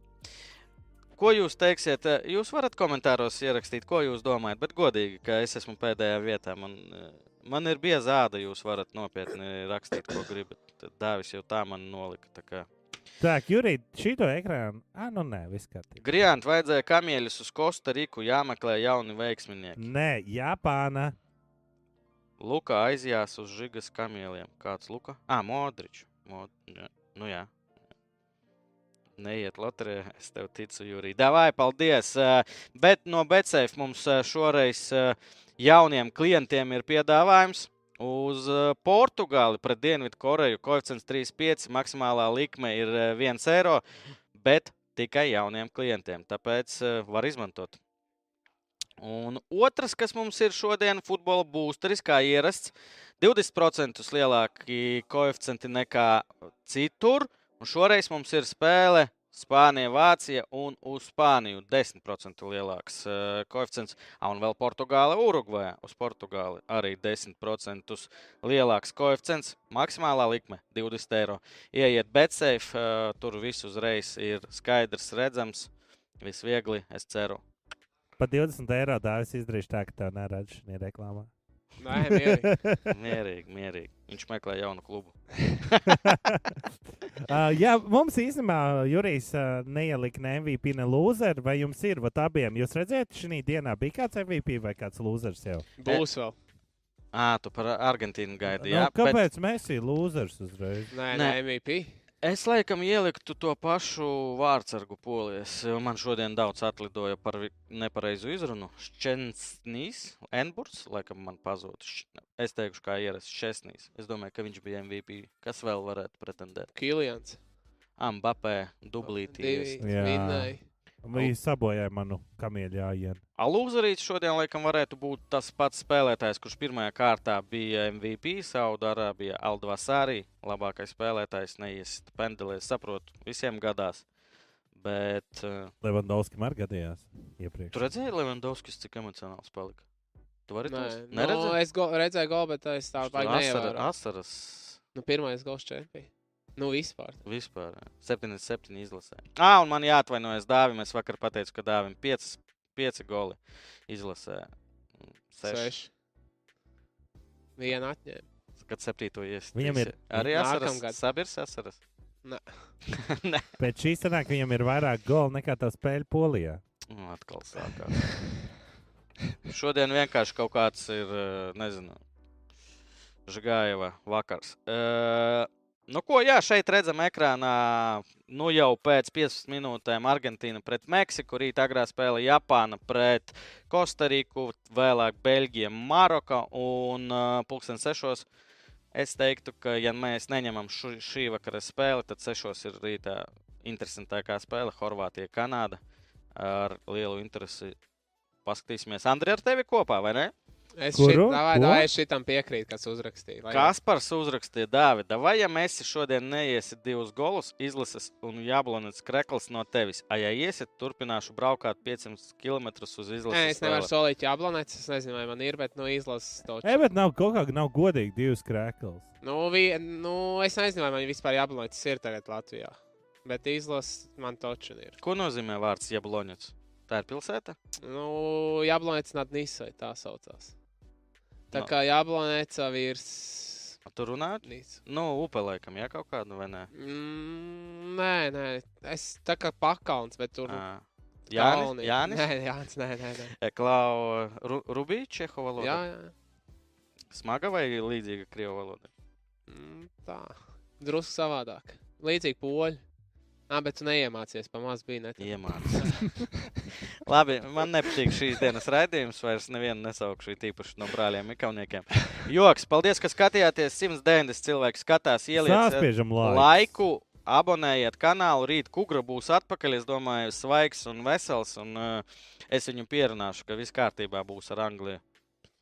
Speaker 1: Ko jūs teiksiet? eh, Jūs varat komentāros ierakstīt, ko jūs domājat, bet godīgi, ka es esmu pēdējā vietā. Man, eh, man ir bieza āda, jūs varat nopietni rakstīt, ko gribat. Tad Dāvis jau tā man nolika. tā kā.
Speaker 3: Так, Юрій, чий то екран? А, ну не, nu viss kārtībā.
Speaker 1: Grianti vajadzēja kamieļus uz Kostariku, jāmeklē jauni veiksminieki.
Speaker 3: Nē, Japāna.
Speaker 1: Luka aizjās uz žigas kamieļiem. Kāds Luka? Ah, Modričs. Mod... jā. Nu jā. Neiet loterijā, es tev ticu, Jurija. Davai, paldies! Eh, Bet no Betseif mums eh, šoreiz eh, jauniem klientiem ir piedāvājums. Uz eh, Portugāli pret Dienvidu Koreju koeficients 3,5. Maksimālā likme ir eh, 1 eiro, bet tikai jauniem klientiem. Tāpēc eh, var izmantot. Un otrs, kas mums ir šodien, ir futbola būsteris, kā ierasts. 20% lielāki koeficienti nekā citur. Un šoreiz mums ir spēle Spānija, Vācija un uz Spāniju 10% lielāks eh, koeficients. Ah, Un vēl Portugāla, Urugvajā. Uz Portugāli arī 10% lielāks koeficients. Maksimālā likme - 20 eiro. Iet betseif, eh, tur viss uzreiz ir skaidrs, redzams, viss viegli, es ceru.
Speaker 3: Par 20 eiro dāvis izdarīšu tā, ka tev neredz šī reklāmā.
Speaker 2: Nē, mierīgi.
Speaker 1: Mierīgi, mierīgi. Viņš meklē jaunu klubu.
Speaker 3: Uh, jā, mums īstenībā Jurijs uh, neielika ne MVP, ne loser, vai jums ir vat abiem? Jūs redzējāt, šī dienā bija kāds MVP vai kāds losers jau?
Speaker 2: Būs vēl.
Speaker 1: Ā, tu par Argentīnu gaidi. Jā,
Speaker 3: nu, kāpēc bet... mēs esam losers uzreiz?
Speaker 2: Nē,
Speaker 1: Nē.
Speaker 2: nē, MVP.
Speaker 1: Es laikam ieliktu to pašu vārdsargu polijas. Man šodien daudz atlidoja par vi- nepareizu izrunu. Šķensnīs, Enburs, laikam man pazūd. Šč- Es teikšu, kā ierasts Šķensnīs. Es domāju, ka viņš bija MVP. Kas vēl varētu pretendēt?
Speaker 2: Kilians.
Speaker 1: Ambapē, dublītī.
Speaker 2: Divi-
Speaker 3: Jā.
Speaker 2: Vidnēji.
Speaker 3: Viņi sabojāja manu kamieļājienu.
Speaker 1: Alūzarīts šodien laikam varētu būt tas pats spēlētājs, kurš pirmajā kārtā bija MVP, Saudārābija Aldvasārī. Labākais spēlētājs neiesit pendelēs, saprotu, visiem gadās. Bet eh,
Speaker 3: Levandovskim arī gadījās iepriekš.
Speaker 1: tu redzēji, Levandovskis, cik emocionāls palika? Tu vari to
Speaker 2: Nē, nu,
Speaker 1: neredzēt?
Speaker 2: es go, redzēju, gala, bet es
Speaker 1: Viņš
Speaker 2: tādu
Speaker 1: tur
Speaker 2: baigtu
Speaker 1: asara-
Speaker 2: nevaru.
Speaker 1: Asaras
Speaker 2: Nu, pirmais gals čempions. Nu, vispār.
Speaker 1: vispār. jā. 77 izlasē. Ā, un man jāatvainojas Dāvim. Es vakar pateicu, ka Dāvim 5, 5 goli izlasē. 6.
Speaker 2: Seši. Vienu atņēmu.
Speaker 1: Kad septīto iesaistīts.
Speaker 3: Viņam ir-
Speaker 1: arī asaras.
Speaker 2: Nākamgad.
Speaker 1: Sabirs asaras.
Speaker 2: Nē.
Speaker 1: Nē.
Speaker 3: Pēc šīs sanāk, viņam ir vairāk golu nekā tā spēle Polijā.
Speaker 1: Nu, Atkal sākās. Šodien vienkārši kaut kāds ir, eh, nezinu, Žigājava vakars. Eh, Nu, ko, jā, šeit redzam ekrānā, nu jau pēc 15 minūtēm Argentīna pret Meksiku, rītā agrā spēle Japāna pret Kostariku, vēlāk Beļģija, Maroka un eh, pulksten sešos. Es teiktu, ka, ja mēs neņemam šu, šī vakara spēli, tad sešos ir rītā interesantākā spēle Horvātija, Kanāda. Ar lielu interesi paskatīsimies. Andri, ar tevi kopā, vai ne?
Speaker 2: Es
Speaker 3: Kuru?
Speaker 2: šit- davai-
Speaker 3: Ko?
Speaker 2: davai, es šitam piekrītu, kas uzrakstīja. lai gan-
Speaker 1: Kaspars uzrakstīja Dāvidu, vai ja mēs šodien neiesim divus golus, izlases un jāblonēts krekls no tevis. A, ja iesit, turpināšu braukāt 500 km uz izlases.
Speaker 2: Nē, es nevaru
Speaker 1: spēli.
Speaker 2: solīt, ja ablonēts. Es nezinu, vai man ir, bet nu, izlases to
Speaker 3: E, bet nav kaut kā, nav godīgi divas krēklas.
Speaker 2: Nu, vi, nu, es nezinu, vai man vispār jāaplūkojas, ir tagad Latvijā. Bet izlases man toču ir.
Speaker 1: Ko nozīmē vārds Jablonets? Tā ir pilsēta?
Speaker 2: Nu, jāaplūkojas Natnīsai, tā saucās. Tā
Speaker 1: No.
Speaker 2: kā jāaplūkojas virs.
Speaker 1: Tur runājot?
Speaker 2: Nīca.
Speaker 1: Nu, upe laikam, jā, kaut kāda vai nē.
Speaker 2: Mm, nē, nē, es tā kā pakauns, bet tur
Speaker 1: Ā.
Speaker 2: kalni.
Speaker 1: Ah, Jānis, Jānis?
Speaker 2: Nē, Jānis, nē, nē. nē.
Speaker 1: Klau, Ru, Rubīčs, Čehova valoda.
Speaker 2: Jā,
Speaker 1: Jā.
Speaker 2: jā.
Speaker 1: Smaga vai līdzīga Krievijas valoda?
Speaker 2: Mm, tā. Drusku savādāk. Līdzīgi poļi. Nā, bet tu neiemācies, pamāc bija ne.
Speaker 1: Iemācījās. Labi, man nepatīk šīs dienas raidījums. Vairs nevienu nesaukšu it īpaši no brāļiem Mikauniekiem. Joks, paldies, ka skatījāties. 190 cilvēki skatās, ielieciet
Speaker 3: Sāspiežam laiku.
Speaker 1: laiku, abonējiet kanālu. Rīt kugra būs atpakaļ. Es domāju, svaigs un vesels. Un, uh, es viņu pierunāšu, ka viss kārtībā būs ar Angliju.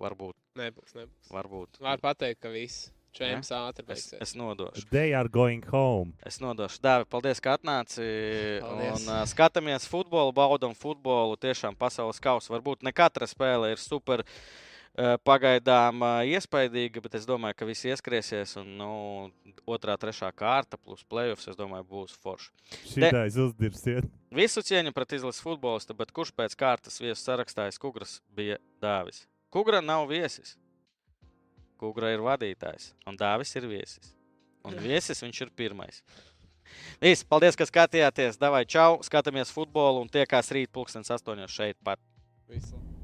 Speaker 1: Varbūt,
Speaker 2: Nebūs, nebūs.
Speaker 1: varbūt.
Speaker 2: Var pateikt, ka viss. Čemps ātri
Speaker 1: Es,
Speaker 2: beigsies.
Speaker 1: es nodošu.
Speaker 3: They are going home.
Speaker 1: Es nodošu dāvi. Paldies, ka atnāci.
Speaker 2: Paldies.
Speaker 1: Un, uh, skatāmies futbolu, baudām futbolu. Tiešām pasaules kausa. Varbūt ne katra spēle ir super. eh, eh, pagaidām eh, iespaidīga, bet es domāju, ka viss ieskriesies. Un, nu, otrā, trešā kārta plus playoffs, es domāju, būs forši.
Speaker 3: Šī tā izdirsiet.
Speaker 1: Visu cieņu pret izlases futbolistu, bet kurš pēc kārtas viesu sarakstā Kugras bija Dāvis? Kugra nav viesis. Kugra ir vadītājs, un Dāvis ir viesis. Un viesis viņš ir pirmais. Viss, paldies, ka skatījāties. Davai, čau! Skatāmies futbolu un tiekās rīt, pulkstenis astoņos šeit pat.
Speaker 2: Visu.